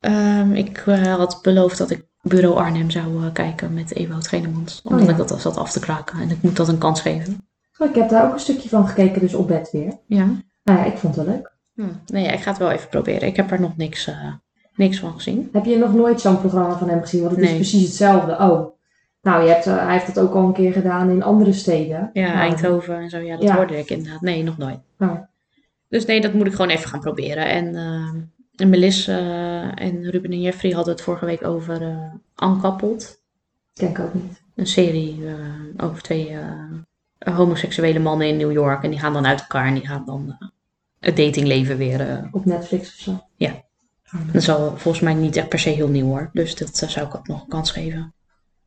Ehm, ik eh, had beloofd dat ik Bureau Arnhem zou eh, kijken met Ewout Genemans. Omdat
ja.
ik dat al zat af te kraken. En ik moet dat een kans geven.
Oh, ik heb daar ook een stukje van gekeken, dus op bed weer.
Ja.
Nou ja, ik vond het wel leuk.
Hm. Nee, ja, ik ga het wel even proberen. Ik heb er nog niks, eh, niks van gezien.
Heb je nog nooit zo'n programma van hem gezien? Want het is
Nee.
precies hetzelfde. Oh, nou, je hebt, eh, hij heeft het ook al een keer gedaan in andere steden.
Ja,
Nou,
Eindhoven en zo. Ja, dat
Ja.
hoorde ik inderdaad. Nee, nog nooit.
nou,
Dus nee, dat moet ik gewoon even gaan proberen. En, ehm, en Melissa eh, en Ruben en Jeffrey hadden het vorige week over eh Unkappeld.
ken ik ook niet.
Een serie eh, over twee eh, homoseksuele mannen in New York. En die gaan dan uit elkaar en die gaan dan eh, het datingleven weer. eh.
Op Netflix of zo.
Ja. dat zal volgens mij niet echt per se heel nieuw hoor. Dus dat eh, zou ik ook nog een kans geven.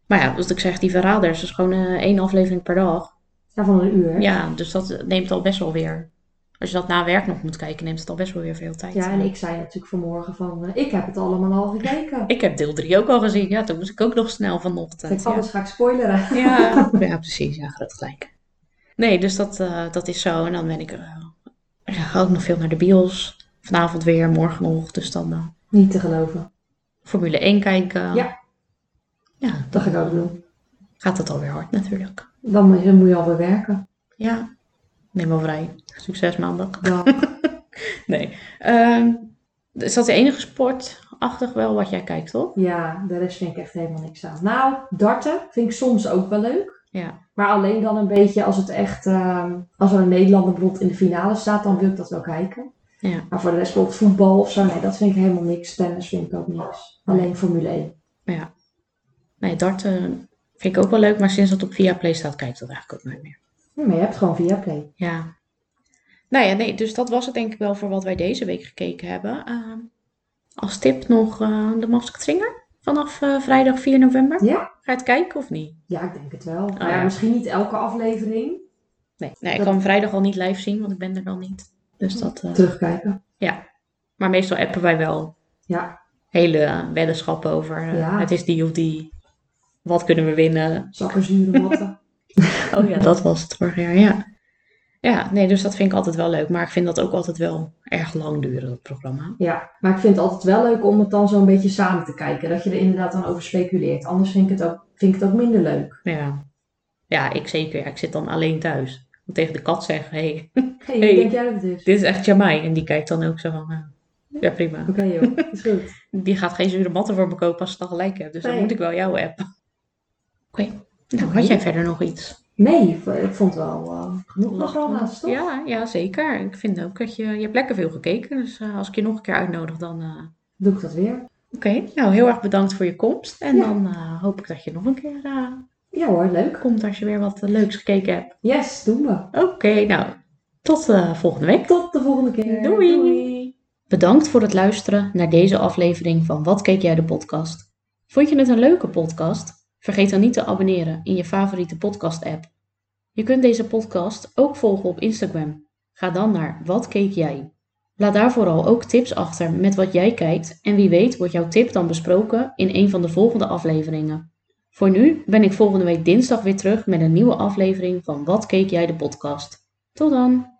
Maar ja, wat ik zeg, die verraders, dat is gewoon eh, één aflevering per dag.
Ja, van een uur.
Ja, dus dat neemt al best wel weer. Als je dat na werk nog moet kijken, neemt het al best wel weer veel tijd.
Ja, en ik zei natuurlijk vanmorgen van, eh, ik heb het allemaal al gekeken.
Ik heb deel 3 ook al gezien. Ja, toen moest ik ook nog snel
Ik
vanochtend.
alles ga ik
Ja.
spoileren.
Ja. ja, precies. Ja, groot gelijk. Nee, dus dat, eh, dat is zo. En dan ben ik eh, ja, ook nog veel naar de bios. Vanavond weer, morgen nog. Dus dan eh,
Niet te geloven.
Formule 1 kijken.
Ja.
Ja,
Dat
dan
ga ik ook doen.
gaat dat alweer hard natuurlijk.
Dan moet je- moet je alweer werken.
Ja, neem wel vrij. Succes maandag.
Dan.
Nee. Ehm, is dat de enige sportachtig wel wat jij kijkt, toch?
Ja, de rest vind ik echt helemaal niks aan. Nou, darten vind ik soms ook wel leuk.
Ja.
Maar alleen dan een beetje als het echt, ehm, als er een Nederlander bijvoorbeeld in de finale staat, dan wil ik dat wel kijken.
Ja.
Maar voor de rest bijvoorbeeld voetbal of zo, nee, dat vind ik helemaal niks. Tennis vind ik ook niks. Alleen Formule 1.
Ja. Nee, darten vind ik ook wel leuk, maar sinds dat op Viaplay staat, kijk ik dat eigenlijk ook nooit meer.
Hm, maar je hebt gewoon Viaplay.
Ja. Nou ja, nee, dus dat was het denk ik wel voor wat wij deze week gekeken hebben. Ehm, als tip nog eh, de Masked Singer vanaf eh, vrijdag 4 november.
Ja?
Ga je het kijken of niet?
Ja, ik denk het wel.
Oh,
maar ja,
ja.
misschien niet elke aflevering.
Nee, nee ik
Dat-
kan vrijdag al niet live zien, want ik ben er dan niet. Dus dat, eh,
Terugkijken.
maar meestal appen wij wel
Ja,
hele eh, weddenschappen over. eh,
Ja.
Het is die of die. Wat kunnen we winnen?
zakken, zuren, matten.
Oh ja, dat was het vorig jaar, ja. Ja, nee, dus dat vind ik altijd wel leuk. Maar ik vind dat ook altijd wel erg lang duren, dat programma.
Ja, maar ik vind het altijd wel leuk om het dan zo'n beetje samen te kijken. Dat je er inderdaad dan over speculeert. Anders vind ik het ook, vind ik het ook minder leuk.
Ja, ja ik zeker. Ja, ik zit dan alleen thuis. Ik moet tegen de kat zeggen, hey,
Hé, hey,
Hey.
denk jij dat het is?
dit is echt Jamai. En die kijkt dan ook zo van, eh, ja prima.
Oké joh, is goed.
Die gaat geen zure matten voor me kopen als ze dan gelijk hebt. Dus
Nee.
dan moet ik wel jouw app. Oké. Nou,
Oké.
had jij verder nog iets?
Nee, v- ik vond wel eh, genoeg programma's, toch?
Ja, ja, zeker. Ik vind ook dat je... Je hebt lekker veel gekeken. Dus eh, als ik je nog een keer uitnodig, dan... eh,
Doe ik dat weer?
Oké, nou heel erg bedankt voor je komst. En
Ja.
dan eh, hoop ik dat je nog een keer eh,
Ja hoor, leuk.
komt als je weer wat eh, leuks gekeken hebt.
Yes, doen we.
Oké, nou tot eh, volgende week.
Tot de volgende keer.
Doei. Bedankt voor het luisteren naar deze aflevering van Wat keek jij de podcast? Vond je het een leuke podcast? Vergeet dan niet te abonneren in je favoriete podcast app. Je kunt deze podcast ook volgen op Instagram. Ga dan naar Wat keek jij? Laat daar vooral ook tips achter met wat jij kijkt en wie weet wordt jouw tip dan besproken in een van de volgende afleveringen. Voor nu ben ik volgende week dinsdag weer terug met een nieuwe aflevering van Wat keek jij de podcast. Tot dan!